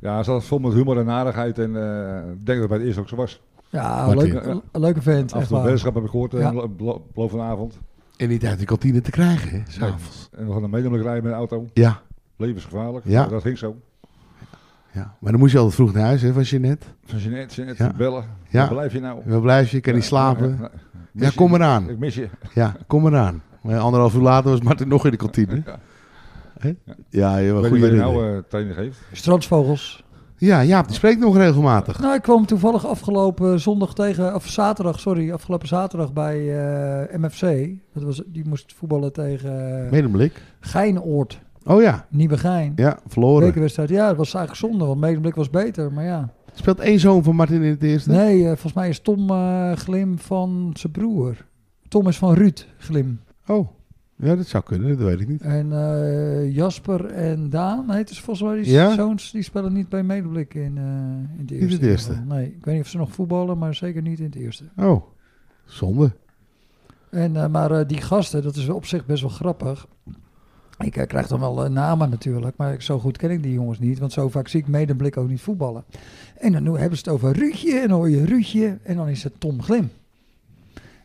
Ja, hij zat vol met humor en aardigheid en eh, ik denk dat het bij het eerst ook zo was.
Ja,
Martin.
leuk, le- leuke vent.
Af en toe
Echt
een
waar.
weddenschap heb ik gehoord, eh,
Ja.
ja. beloofd vanavond.
En niet uit de kantine te krijgen, hè? S'avonds.
En we gaan een medemelijk rijden met de auto.
Ja,
Levensgevaarlijk,
Ja.
maar dat ging zo.
ja. Maar dan moest je altijd vroeg naar huis, hè, van Jeanette.
Van Jeanette, Jeanette,
Ja.
bellen.
Ja.
Waar blijf je nou?
Waar blijf je? Kan niet slapen?
Ik mis
Ja,
je.
kom eraan.
Ik mis je.
Ja, kom eraan. Maar anderhalf uur later was Martin nog in de kantine.
Ja.
Hè? Ja, joh,
Ik weet niet
goede
wie er
herinnering.
nou eh training geeft.
Strandsvogels.
Ja, Jaap, die spreekt nog regelmatig.
Nou, ik kwam toevallig afgelopen zondag tegen, of zaterdag, sorry, afgelopen zaterdag bij eh, MFC. Dat was, die moest voetballen tegen eh,
Meen een blik.
Geinoord,
Oh ja,
Nieuwegein.
ja, verloren.
Bekerwedstrijd, ja, dat was eigenlijk zonde, want Medemblik was beter, maar ja.
Speelt één zoon van Martin in het eerste?
Nee, eh, volgens mij is Tom eh, Glim van zijn broer. Tom is van Ruud Glim.
Oh, ja, dat zou kunnen, dat weet ik niet.
En eh, Jasper en Daan heet dus volgens mij die
Ja?
zoons, die spelen niet bij Medemblik in, eh, in het eerste.
het
in ieder
eerste.
geval. Nee, ik weet niet of ze nog voetballen, maar zeker niet in het eerste.
Oh, zonde.
En, eh, maar eh, die gasten, dat is op zich best wel grappig. Ik eh, krijg dan wel eh, namen natuurlijk, maar ik- zo goed ken ik die jongens niet. Want zo vaak zie ik Medemblik ook niet voetballen. En dan hebben ze het over Ruudje en dan hoor je Ruudje en dan is het Tom Glim.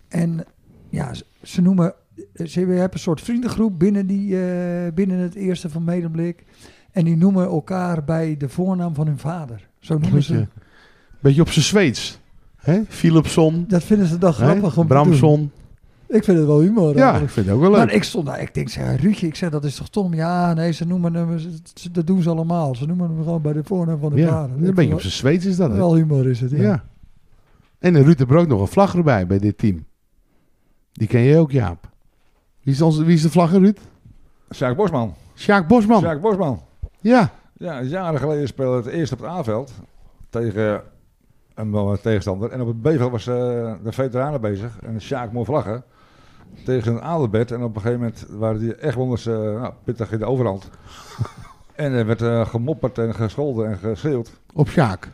En ja, ze, ze noemen... eh, Ze hebben je hebt een soort vriendengroep binnen, die, eh, binnen het eerste van Medemblik. En die noemen elkaar bij de voornaam van hun vader. Zo noemen ze...
Beetje, beetje op zijn Zweeds. Hè? Philipson,
Dat vinden ze dan
hè?
grappig om te doen.
Bramson.
Ik vind het wel humor.
Ja,
eigenlijk.
ik vind het ook wel leuk.
Maar ik stond daar, ik denk, zeg, Ruudje, ik zeg, dat is toch Tom? Ja, nee, ze noemen hem, ze- ze- dat doen ze allemaal. Ze noemen hem gewoon bij de voornaam van de
ja,
vader.
een
Ik
beetje op
vond
zijn Zweeds is dat.
wel-
Hè?
Wel humor is het, ja.
ja. En de Ruud de Broek nog een vlag erbij bij dit team. Die ken je ook, Jaap. Wie is, onze, wie is de vlagger, Ruud?
Sjaak Bosman.
Sjaak Bosman.
Sjaak Bosman.
Ja.
Ja, jaren geleden speelde het eerst op het A-veld tegen een wel een tegenstander. En op het B-veld was eh, de veteranen bezig en Sjaak mooi vlaggen tegen een adelbed. En op een gegeven moment waren die echt wel eens eh, nou, pittig in de overhand. en er werd eh, gemopperd en gescholden en geschreeuwd.
Op Sjaak.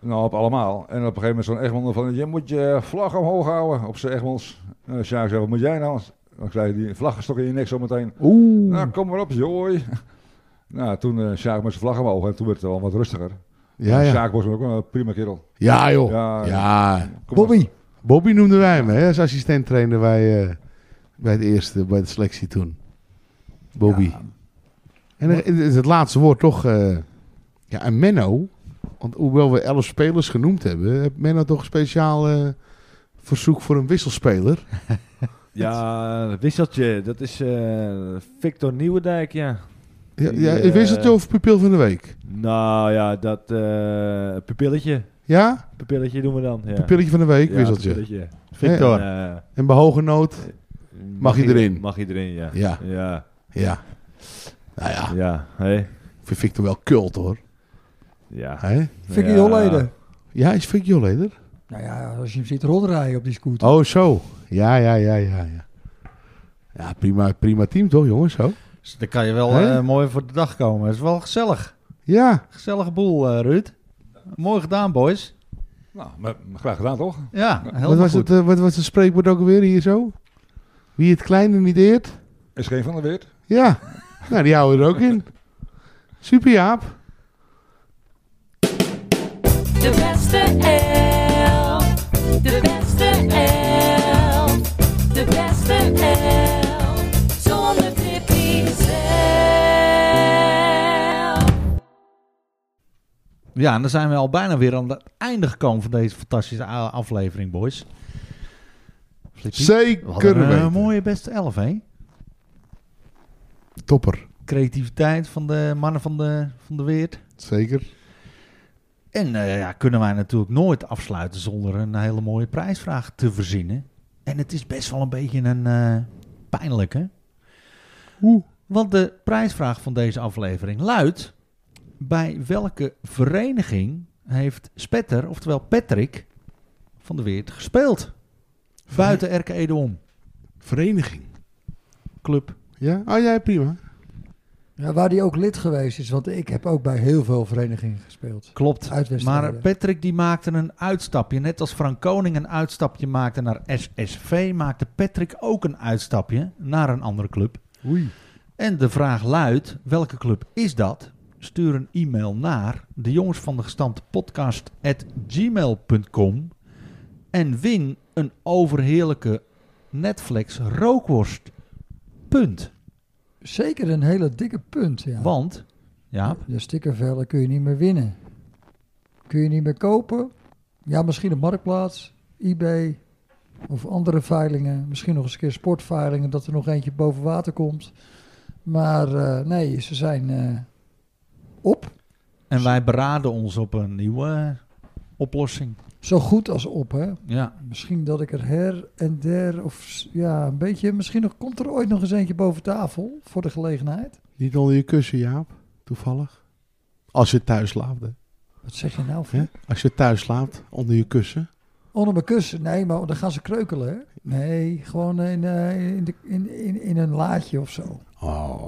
Nou, op allemaal. En op een gegeven moment zo'n Egmond van, je moet je vlag omhoog houden op zijn Egmonds. En Sjaak zei, wat moet jij nou? Dan zei die vlag is toch in je nek zometeen.
Oeh.
Nou, kom maar op, jooi. nou, toen eh Sjaak met zijn vlag omhoog en toen werd het wel wat rustiger.
ja, ja.
Sjaak was ook een prima kerel.
ja, joh.
Ja,
ja.
Kom
Bobby,
Bobby noemden wij hem hè, als assistent trainer bij, eh, bij het eerste, bij de selectie toen. Bobby. En er- het, het laatste woord toch. eh, ja, en Menno, Want hoewel we elf spelers genoemd hebben, heeft Menno toch een speciaal eh, verzoek voor een wisselspeler.
Ja, dat wisseltje. Dat is eh, Victor Nieuwendijk, ja.
Ja,
Die,
ja,
eh,
wisseltje of pupil van de week?
Nou ja, dat eh, pupilletje.
Ja?
Pupilletje doen we dan. Ja.
Pupilletje van de week,
Ja,
wisseltje.
pupilletje.
Victor.
En, eh,
En bij hoge nood? Mag je erin?
Mag je erin, ja.
Ja.
Ja,
Ja. Nou ja,
ja. Hey.
ik vind Victor wel kult hoor.
ja.
Hè?
Vicky
Ja.
Holleder.
Ja, is Victor Jolleder?
Nou ja, als je hem ziet rondrijden op die scooter.
Oh, zo. Ja, ja, ja, ja. Ja, ja prima, prima team toch jongens? Zo.
Dus dan kan je wel
Hè?
eh, mooi voor de dag komen. Het is wel gezellig.
Ja.
Gezellige boel, eh, Ruud. Mooi gedaan, boys.
Nou, maar, maar graag gedaan toch?
Ja,
Wat
helemaal
was,
goed.
het, eh, wat was het spreekwoord ook alweer hier zo? Wie het kleine niet eert?
Is geen van de Weert.
Ja, nou die houden we er ook in. Super Jaap.
De beste elf. De beste elf. De beste elf. Zonder Tippy zelf.
Ja, en dan zijn we al bijna weer aan het einde gekomen van deze fantastische a- aflevering, boys. Flippy, we hadden
Zeker
een eh,
weten.
mooie beste elf, hè?
Topper.
Creativiteit van de mannen van de, van de Weert.
Zeker.
En eh, ja, kunnen wij natuurlijk nooit afsluiten zonder een hele mooie prijsvraag te verzinnen. En het is best wel een beetje een eh, pijnlijke. Hoe? Want de prijsvraag van deze aflevering luidt: bij welke vereniging heeft Spetter, oftewel Patrick van de Weert, gespeeld? Buiten Erke Edom,
Vereniging.
club.
Ja? Oh ja, prima.
Ja, waar die ook lid geweest is, want ik heb ook bij heel veel verenigingen gespeeld.
Klopt.
Uit Westerwolde.
Maar Patrick die maakte een uitstapje. Net als Frank Koning een uitstapje maakte naar SSV, maakte Patrick ook een uitstapje naar een andere club.
Oei.
En de vraag luidt: welke club is dat? Stuur een e-mail naar de jongens van de gestampte podcast at gmail.com en win een overheerlijke Netflix rookworst. Punt.
Zeker een hele dikke punt. Ja.
Want, ja,
De stickervellen kun je niet meer winnen. Kun je niet meer kopen. Ja, misschien op Marktplaats, eBay of andere veilingen. Misschien nog eens een keer sportveilingen, dat er nog eentje boven water komt. Maar eh, nee, ze zijn eh, op.
en wij beraden ons op een nieuwe eh, oplossing.
Zo goed als op, hè.
Ja.
Misschien dat ik er her en der, of s- ja, een beetje. Misschien nog, komt er ooit nog eens eentje boven tafel voor de gelegenheid.
Niet onder je kussen, Jaap. Toevallig. Als je thuis slaapt. hè.
Wat zeg je nou?
Hè?
Fred?
Als je thuis slaapt, onder je kussen.
Onder mijn kussen? Nee, maar dan gaan ze kreukelen. hè? Nee, gewoon in, eh, in, de, in, in, in een laadje of zo.
Oh.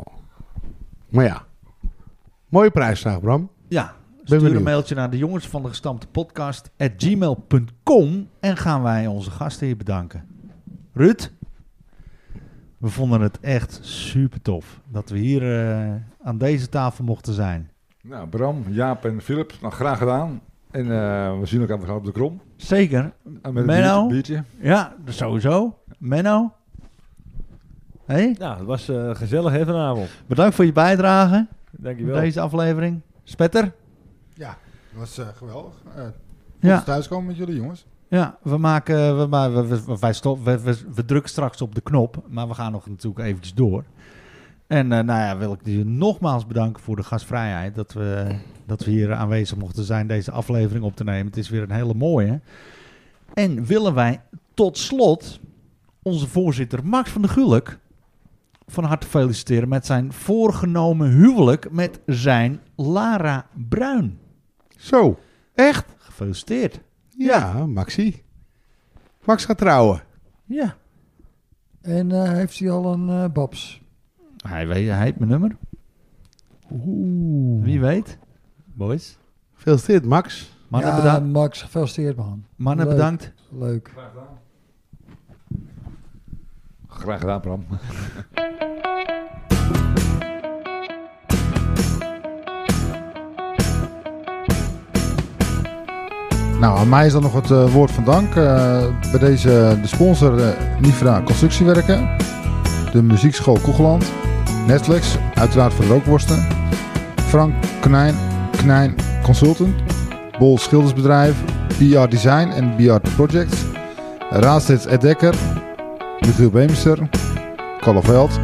Maar ja. Mooie prijsvraag, Bram.
Ja, stuur
benieuwd.
een mailtje naar de jongens van de gestampte podcast at gmail.com en gaan wij onze gasten hier bedanken. Ruud, we vonden het echt super tof dat we hier eh, aan deze tafel mochten zijn.
Nou, Bram, Jaap en Philip, nou, graag gedaan. En eh, we zien elkaar we gaan op de krom.
Zeker.
En met een
Menno?
biertje. biertje.
Ja, dat sowieso. Menno. Hey,
Nou, het was eh, gezellig hè vanavond.
bedankt voor je bijdrage
Dankjewel.
bij deze aflevering. Spetter.
Ja, dat was eh, geweldig. Eh
Ja,
Thuiskomen met jullie jongens.
ja we, maken, we, maar we, we, we- wij stop, we, we, we drukken straks op de knop, maar we gaan nog natuurlijk eventjes door. En eh, nou ja, wil ik je nogmaals bedanken voor de gastvrijheid. Dat we, dat we hier aanwezig mochten zijn deze aflevering op te nemen. Het is weer een hele mooie. En willen wij tot slot onze voorzitter Max van der Gulik van harte feliciteren met zijn voorgenomen huwelijk met zijn Lara Bruin.
Zo. Echt?
Gefeliciteerd.
Ja, Maxi. Max gaat trouwen.
Ja.
En eh, heeft hij al een eh, babs?
Hij, weet, hij heeft mijn nummer. Oeh. Wie weet. Boys.
Gefeliciteerd, Max.
Mannen,
ja,
bedankt.
Max, gefeliciteerd man.
Mannen
Leuk.
bedankt.
Leuk.
Graag gedaan, Bram.
Nou, aan mij is dan nog het eh, woord van dank. Eh, bij deze de sponsor eh, Nifra Constructiewerken. De Muziekschool Koegeland. Netflix, uiteraard voor de rookworsten. Frank Knijn, Knijn Consultant. Bol Schildersbedrijf, BR Design en BR Projects, Raadsteeds Ed Dekker, Michiel Beemster, Carlo Veld.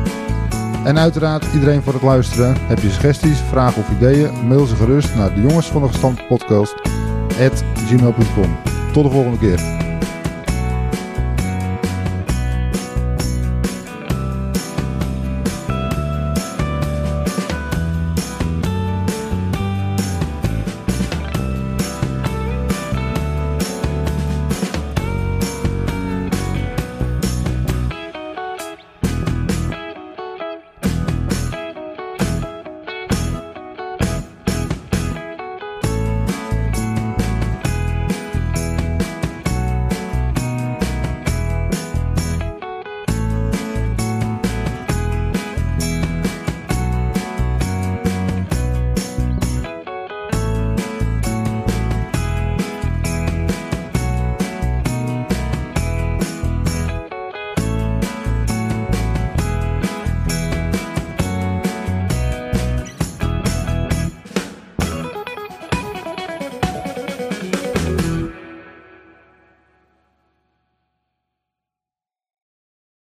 En uiteraard iedereen voor het luisteren. Heb je suggesties, vragen of ideeën? Mail ze gerust naar de jongens van de gestand podcast at gmail.com. Tot de volgende keer.